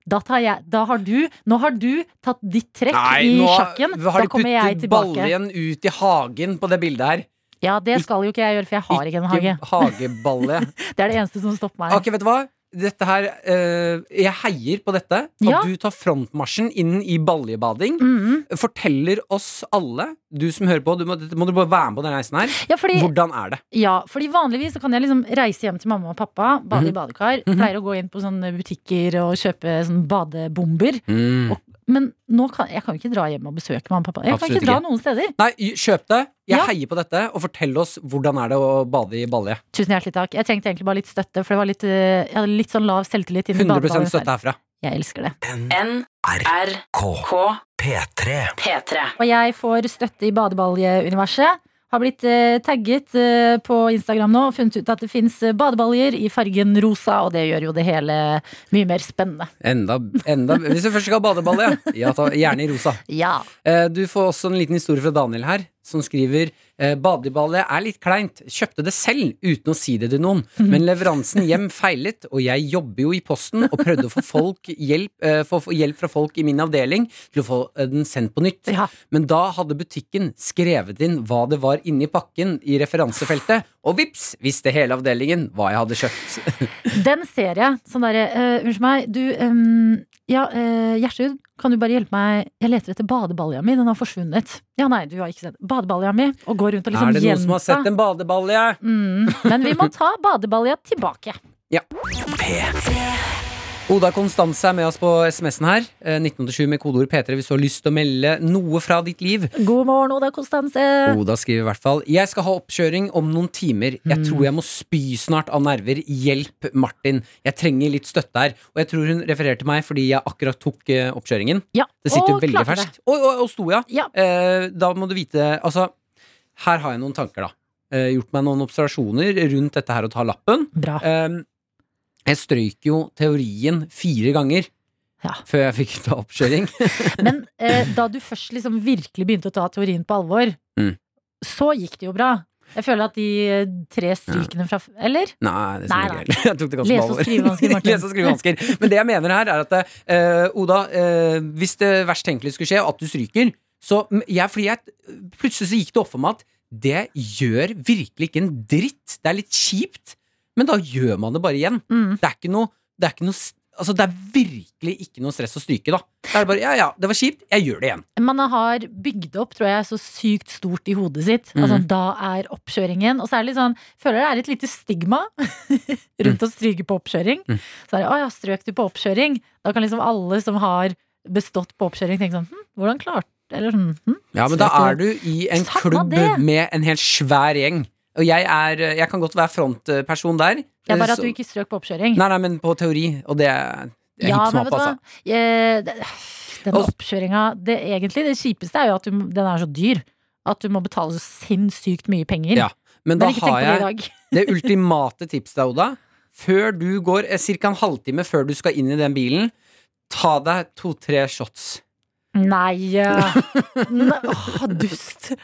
B: Da, tar jeg, da har du Nå har du tatt ditt trekk i
C: nå
B: sjakken.
C: har
B: Da
C: de
B: kommer jeg
C: puttet
B: tilbake.
C: baljen ut i hagen på det bildet her.
B: Ja, det skal jo ikke jeg gjøre, for jeg har ikke en hage.
C: Ikke hageballe.
B: Det er det eneste som stopper meg.
C: Ah, Ok, vet du hva? Dette her, eh, Jeg heier på dette. At
B: Ja.
C: du tar frontmarsjen inn i baljebading.
B: Mhm.
C: Forteller oss alle, du som hører på, du må, dette må du bare være med på den reisen her.
B: Ja, fordi,
C: Hvordan er det?
B: ja, fordi vanligvis så kan jeg liksom reise hjem til mamma og pappa, bade i badekar,
C: Mhm.
B: pleier å gå inn på sånne butikker og kjøpe sånne badebomber.
C: Mm.
B: Og- Men nå kan jeg kan jo ikke dra hjem og besøke mamma og pappa. Jeg kan
C: Absolutt
B: ikke dra
C: ikke.
B: noen steder.
C: Nei, kjøp det. Jeg
B: Ja.
C: heier på dette. Og fortell oss hvordan er det å bade i balje.
B: Tusen hjertelig takk. Jeg trengte egentlig bare litt støtte, for det var litt, eh, jeg hadde litt sånn lav selvtillit. inn i
C: 100
B: badeballen.
C: støtte herfra.
B: Jeg elsker det.
D: NRK P3. P3.
B: Og jeg får støtte i badebaljeuniverset. Har blitt eh, tagget eh, på Instagram nå og funnet ut at det fins badebaljer i fargen rosa, og det gjør jo det hele mye mer spennende.
C: Enda, enda Hvis du først skal ha badebalje, ja, ta, gjerne i rosa.
B: Ja.
C: Eh, Du får også en liten historie fra Daniel her, som skriver eh, Badeballet er litt kleint. Kjøpte det selv uten å si det til noen.
B: Mhm.
C: Men leveransen hjem feilet, og jeg jobber jo i posten og prøvde å få, folk hjelp, eh, få få hjelp fra folk i min avdeling til å få eh, den sendt på nytt.
B: Ja.
C: Men da hadde butikken skrevet inn hva det var inni pakken i referansefeltet, og vips visste hele avdelingen hva jeg hadde kjøpt.
B: Den ser jeg. Sånn derre eh, Unnskyld meg, du ehm, Ja, eh, Gjertrud, kan du bare hjelpe meg? Jeg leter etter badebalja mi. Den har forsvunnet. Ja, nei, du har ikke sett Badebalja mi. Og går rundt og liksom
C: er det noen som har
B: gjenta.
C: sett en badebalje?
B: Mm, men vi må ta badebalja tilbake.
C: Oda Konstanse er med oss på SMS-en her. eh, 1987 med kodeord P3 hvis du har lyst til å melde noe fra ditt liv.
B: God morgen, Oda Konstanse.
C: Oda skriver i hvert fall Jeg skal ha oppkjøring om noen timer. Jeg
B: Mm.
C: tror jeg må spy snart av nerver. Hjelp, Martin. Jeg trenger litt støtte her. Og jeg tror hun refererer til meg fordi jeg akkurat tok eh, oppkjøringen.
B: Ja,
C: Det sitter
B: og
C: jo veldig
B: klarte det.
C: ferskt. Og, og, og sto, ja.
B: Ja.
C: Eh, da må du vite Altså, her har jeg noen tanker, da. Eh, gjort meg noen observasjoner rundt dette her å ta lappen.
B: Bra.
C: Um, jeg strøyk jo teorien fire ganger
B: Ja.
C: før jeg fikk ta oppkjøring.
B: Men eh, da du først liksom virkelig begynte å ta teorien på alvor,
C: Mm.
B: så gikk det jo bra. Jeg føler at de eh, tre strykene fra f- Eller?
C: Nei, det
B: Nei,
C: stemmer ikke helt. Jeg tok det ganske
B: Lese- og
C: alvorlig.
B: skrivevansker, Martin.
C: Lese- og skrivevansker. Men det jeg mener her, er at eh, Oda, eh, hvis det verst tenkelige skulle skje, at du stryker så m- jeg, fordi jeg, Plutselig så gikk det opp for meg at det gjør virkelig ikke en dritt. Det er litt kjipt, men da gjør man det bare igjen.
B: Mm.
C: Det er ikke noe, det er ikke noe s- Altså, det er virkelig ikke noe stress å stryke, da. Da er det bare ja, ja, det var kjipt, jeg gjør det igjen.
B: Man har bygd opp, tror jeg, så sykt stort i hodet sitt.
C: Mm.
B: Altså, da er oppkjøringen. Og så er det litt sånn, føler jeg det er et lite stigma rundt å stryke på oppkjøring.
C: Mm.
B: Så er det 'Å ja, strøk du på oppkjøring?' Da kan liksom alle som har bestått på oppkjøring, tenke sånn hm, 'Hvordan klarte Eller sånn hm?
C: Ja, men da er du i en
B: Samme
C: klubb
B: det.
C: med en helt svær gjeng. Og jeg er eh, Jeg kan godt være frontperson der. Eh,
B: Det er bare at
C: Så-
B: du ikke strøk på oppkjøring.
C: Nei, nei, men på teori, og det er det er
B: ja,
C: hipp som
B: men
C: happ,
B: vet du hva?
C: altså.
B: Eh, det- Den
C: Og-
B: oppkjøringa det, egentlig, det kjipeste er jo at du, må- den er så dyr. At du må betale så sinnssykt mye penger.
C: Ja, Men da
B: Men ikke tenk
C: har
B: på det i
C: jeg
B: dag.
C: Det ultimate tipset deg, Oda Før du går eh, cirka en halvtime før du skal inn i den bilen Ta deg to-tre shots
B: Nei eh, ne Åh, dust.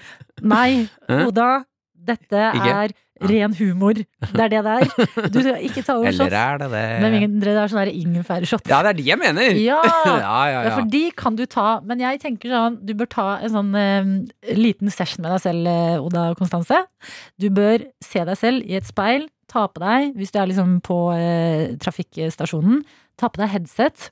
B: Nei,
C: Hæ?
B: Oda. Dette
C: Ikke?
B: er ren humor. Det er det det er. Du skal ikke ta over shots.
C: er det det?
B: Men mindre det er sånn ingefærshots.
C: Ja, det er de jeg mener
B: Ja!
C: ja, ja,
B: Ja,
C: ja.
B: for de kan du ta, men jeg tenker sånn Du bør ta en sånn eh, liten session med deg selv, eh, Oda og Konstanse. Du bør se deg selv i et speil, ta på deg, hvis du er liksom på eh, trafikkstasjonen, ta på deg headset,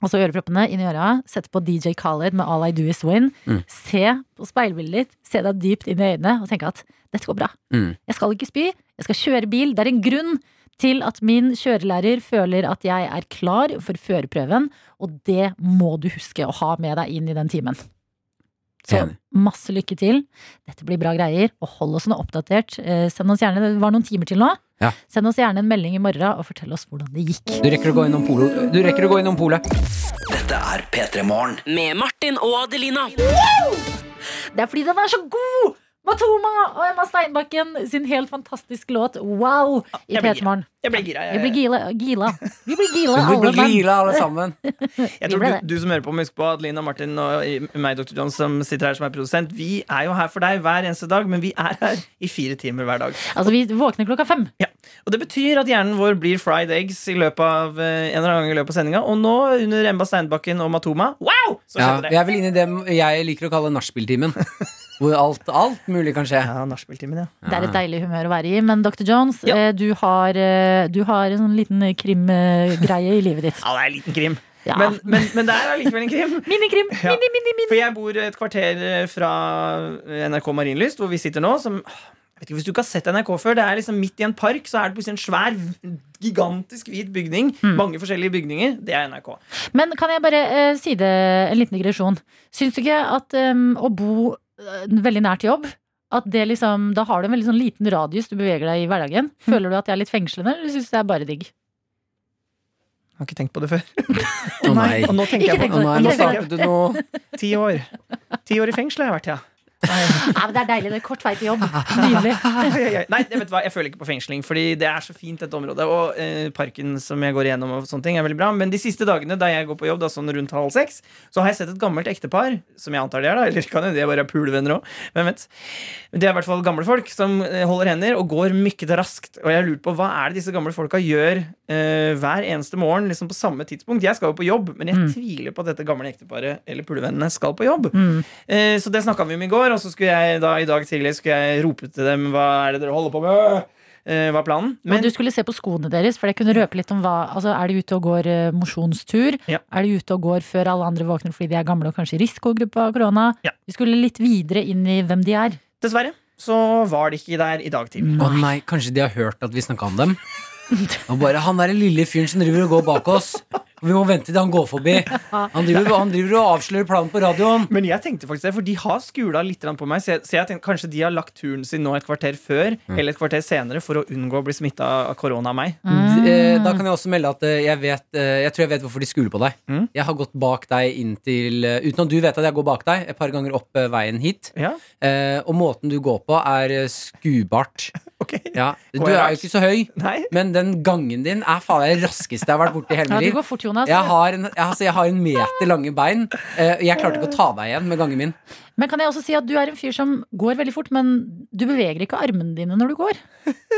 B: altså øreproppene inn i øra, sette på DJ Khaled med All I Do Is Win,
C: Mm.
B: se på speilbildet ditt, se deg dypt inn i øynene og tenke at dette går bra.
C: Mm.
B: Jeg skal ikke spy, jeg skal kjøre bil. Det er en grunn til at min kjørelærer føler at jeg er klar for førerprøven, og det må du huske å ha med deg inn i den timen. Så
C: Enig.
B: masse lykke til. Dette blir bra greier, og hold oss nå oppdatert. Eh, Send oss gjerne, Det var noen timer til nå.
C: Ja.
B: Send oss gjerne en melding i morgen og fortell oss hvordan det gikk.
C: Du rekker å gå innom polo Du rekker å gå innom pole
D: Dette er P3 Morgen. Med Martin og Adelina.
B: Det er fordi den er så god! Matoma og Emma Steinbakken sin helt fantastiske låt Wow i
J: Jeg blir
B: P3 Morgen.
J: Jeg ble gira.
B: Vi blir
J: Jeg,
B: gila, gila. Vi blir gila,
C: Du
B: alle
C: blir
B: mann.
C: gila alle sammen
J: jeg
B: vi
J: tror
B: ble
J: du, du som hører på, må huske på Adelina, Martin og i- meg, Dr. John, som sitter her som er produsent. Vi er jo her for deg hver eneste dag, men vi er her i fire timer hver dag.
B: Altså, vi våkner klokka fem.
J: Og det betyr at hjernen vår blir fried eggs i løpet av, eh, en eller annen gang i løpet av sendinga. Og nå, under Emma Steinbakken og Matoma, wow! Så
C: ja,
J: skjedde det.
C: Jeg vil inn i det jeg liker å kalle nachspieltimen Hvor alt, alt mulig kan skje
J: Ja, nachspieltimen, ja.
B: Det er et deilig humør å være i. Men Dr. Jones,
J: Ja.
B: eh, du, har, eh, du har en sånn liten krimgreie i livet ditt.
J: Ja, det er en liten krim.
B: Ja.
J: Men, men, men det er allikevel en krim.
B: minikrim!
J: Ja.
B: Mini, mini, mini.
J: For jeg bor et kvarter eh, fra eh, NRK Marienlyst, hvor vi sitter nå. Som, ah, jeg vet ikke Hvis du ikke har sett NRK før, det er liksom midt i en park, så er det plutselig en svær, gigantisk hvit bygning. Mange forskjellige bygninger. Det er NRK.
B: Men kan jeg bare eh, si det, en liten digresjon. Syns du ikke at eh, å bo eh, veldig nært jobb at det liksom, Da har du en veldig sånn liten radius du beveger deg i hverdagen.
J: Mm.
B: Føler du at det er litt fengslende, eller syns du det er bare digg?
J: Jeg har ikke tenkt på det før.
C: Å nei
J: Og nå tenker
B: Ikke
J: jeg
B: tenk
J: på
B: på
C: Å nei,
B: det. Ikke tenk på
C: nå
B: det.
C: startet du noe
J: ti år. Ti år i fengsel har jeg vært, ja.
B: Nei, men det er deilig. Det er kort vei til jobb. Nydelig.
J: Ai, ai, ai. Nei, vet du hva, jeg føler ikke på fengsling, Fordi det er så fint, dette området. Og eh, parken som jeg går igjennom, og sånne ting er veldig bra. Men de siste dagene da jeg går på jobb, da sånn rundt halv seks, så har jeg sett et gammelt ektepar, som jeg antar de er, da. Eller kan hende de bare er pulevenner òg. Hvem vet. Det er i hvert fall gamle folk som eh, holder hender og går mykket raskt. Og jeg har lurt på hva er det disse gamle folka gjør eh, hver eneste morgen liksom på samme tidspunkt. Jeg skal jo på jobb, men jeg tviler på at dette gamle ekteparet eller pulevennene skal på jobb. Eh, Så det snakka vi om i går, og så skulle jeg da i dag tidlig skulle jeg rope til dem hva er det dere holder på med? Eh, Hva er planen?
B: Men du skulle se på skoene deres, for det kunne røpe litt om hva altså, Er de ute og går eh, mosjonstur?
J: Ja.
B: Er de ute og går før alle andre våkner fordi de er gamle og kanskje i risikogruppa av korona?
J: Ja.
B: Vi skulle litt videre inn i hvem de er.
J: dessverre så var de ikke der i dag tidlig.
C: Å nei, kanskje de har hørt at vi snakket om dem Og bare, han der lille fyren som driver og går bak oss Vi må vente til han går forbi Han driver, han driver og avslører planen på radioen
J: Men jeg tenkte faktisk det, for de har skula litt grann på meg, så jeg, så jeg tenkte kanskje de har lagt turen sin nå et kvarter før eller et kvarter senere for å unngå å bli smitta av korona av meg.
C: D- eh, Da kan jeg også melde at eh, jeg, vet, eh, jeg tror jeg vet hvorfor de skuler på deg
J: Mm.
C: Jeg har gått bak deg inntil eh, Uten at du vet at jeg går bak deg Et par ganger opp eh, veien hit
J: Ja,
C: Eh, Og måten du går på er eh, skubart
J: ok
C: ja. Du
J: Går jeg
C: er
J: rart?
C: jo ikke så høy
J: Nei?
C: Men den gangen din er faen det raskeste jeg har vært borte i hele
B: Ja,
C: mitt
B: du
C: liv
B: går fort, Jonas.
C: jeg har, en, jeg, altså, jeg har en meter lange bein. eh, og jeg klarte ikke å ta deg igjen med gangen min.
B: Men kan jeg også si at du er en fyr som går veldig fort, men du beveger ikke armene dine når du går.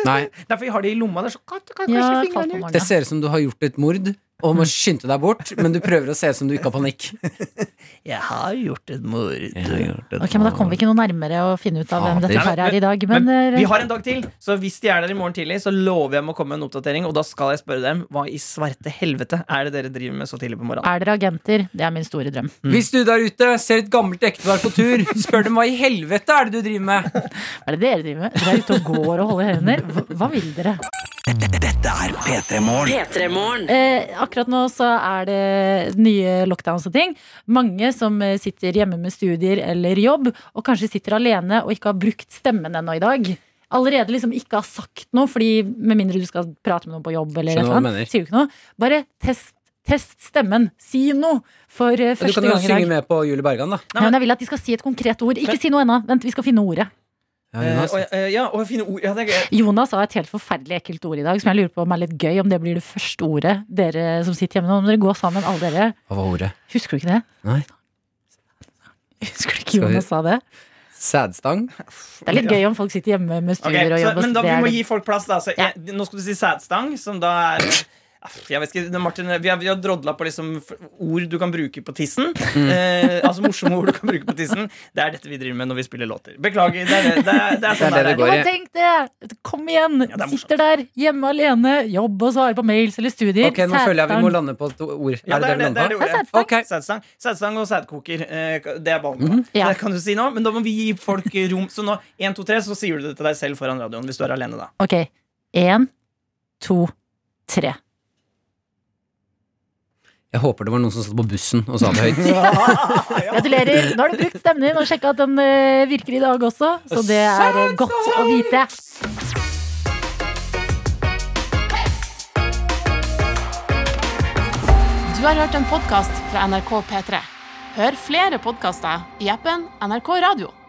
C: Nei,
J: Derfor har de i lomma. Det er så kaldt, du kan
B: Ja, kaldt
J: kanskje fingrene
B: på
J: ut.
B: morgenen,
C: Det ser ut som du har gjort et mord,
K: og må skynde deg bort, men du prøver å se ut som du ikke har panikk.
J: Jeg har gjort et mord.
B: Ok, men Da kommer vi ikke noe nærmere å finne ut av hvem
J: Fader.
B: dette paret er i dag. Men, eh,
J: Vi har en dag til, så hvis de er der i morgen tidlig, så lover jeg med å komme med en oppdatering. Og da skal jeg spørre dem hva i svarte helvete er det dere driver med så tidlig på morgenen.
B: er dere agenter? Det er min store drøm.
J: Mm.
K: Hvis du der ute ser et gammelt ektepar på tur, spør dem hva i helvete er det du driver med.
B: Hva er det dere driver med? Dere er ute og går og holder hender? Hva, hva vil dere?
D: Dette er P3 Morgen.
B: Eh, akkurat nå så er det nye lockdowns og ting. Mange som eh, sitter hjemme med studier eller jobb, og kanskje sitter alene og ikke har brukt stemmen ennå i dag. Allerede liksom ikke har sagt noe, fordi med mindre du skal prate med noen på jobb. Eller
K: Skjønner
B: et
K: hva
B: eller
K: du
B: annet,
K: mener.
B: sier du ikke noe. Bare test, test stemmen. Si noe for eh,
K: Du
B: første
K: kan jo
B: gang i
K: synge
B: dag.
K: med på Julie Bergan, da.
B: Nei, men jeg vil at de skal si et konkret ord. Ikke si noe ennå. Vent, vi skal finne ordet.
J: Eh, og, eh, ja, og finne ord ja, det er,
B: Jonas sa et helt forferdelig ekkelt ord i dag, som jeg lurer på om er litt gøy. Om det blir det første ordet dere som sitter hjemme nå. Om dere går sammen, alle dere.
K: Hva var ordet?
B: Husker du ikke det?
K: Nei.
B: Husker du ikke
K: Skal vi-
B: Jonas sa det?
K: Sædstang?
B: Det er litt gøy om folk sitter hjemme med
J: Ok,
B: studier og
J: så,
B: jobb. og
J: men da
B: det
J: vi
B: er
J: må
B: det-
J: gi folk plass, da. Så jeg, nå skal du si sædstang, som da er ah, jeg vet ikke, Martin, vi har, vi har drodla på liksom f- ord du kan bruke på tissen. Eh, altså morsomme ord du kan bruke på tissen. Det er dette vi driver med når vi spiller låter. Beklager. Det er det det, er, det, er sånn
B: Ja,
J: det, er.
B: men tenk det! Kom igjen!
J: det er morsomt.
B: sitter der, hjemme alene, jobb og svarer på mails eller studier.
K: Ok, Nå føler jeg vi må
B: Sædstang.
K: lande på et ord.
J: Ja, det er det,
K: vi
J: det, er
K: lander
J: det
K: på?
J: ordet.
B: sædstang.
J: Sædstang. Sædstang og sædkoker. eh, Det er ballen.
B: Ja.
J: Det kan du si nå, men da må vi gi folk rom. Så nå, 1, 2, 3, så sier du det til deg selv foran radioen hvis du er alene, da.
B: Ok. Én, to, tre.
K: Jeg håper det var noen som satt på bussen og sa det høyt.
B: Gratulerer! Nå har du brukt stemmen din og sjekka at den eh, virker i dag også, så det er eh, godt å vite.
A: Du har hørt en podkast fra NRK P3. Hør flere podkaster i appen NRK Radio.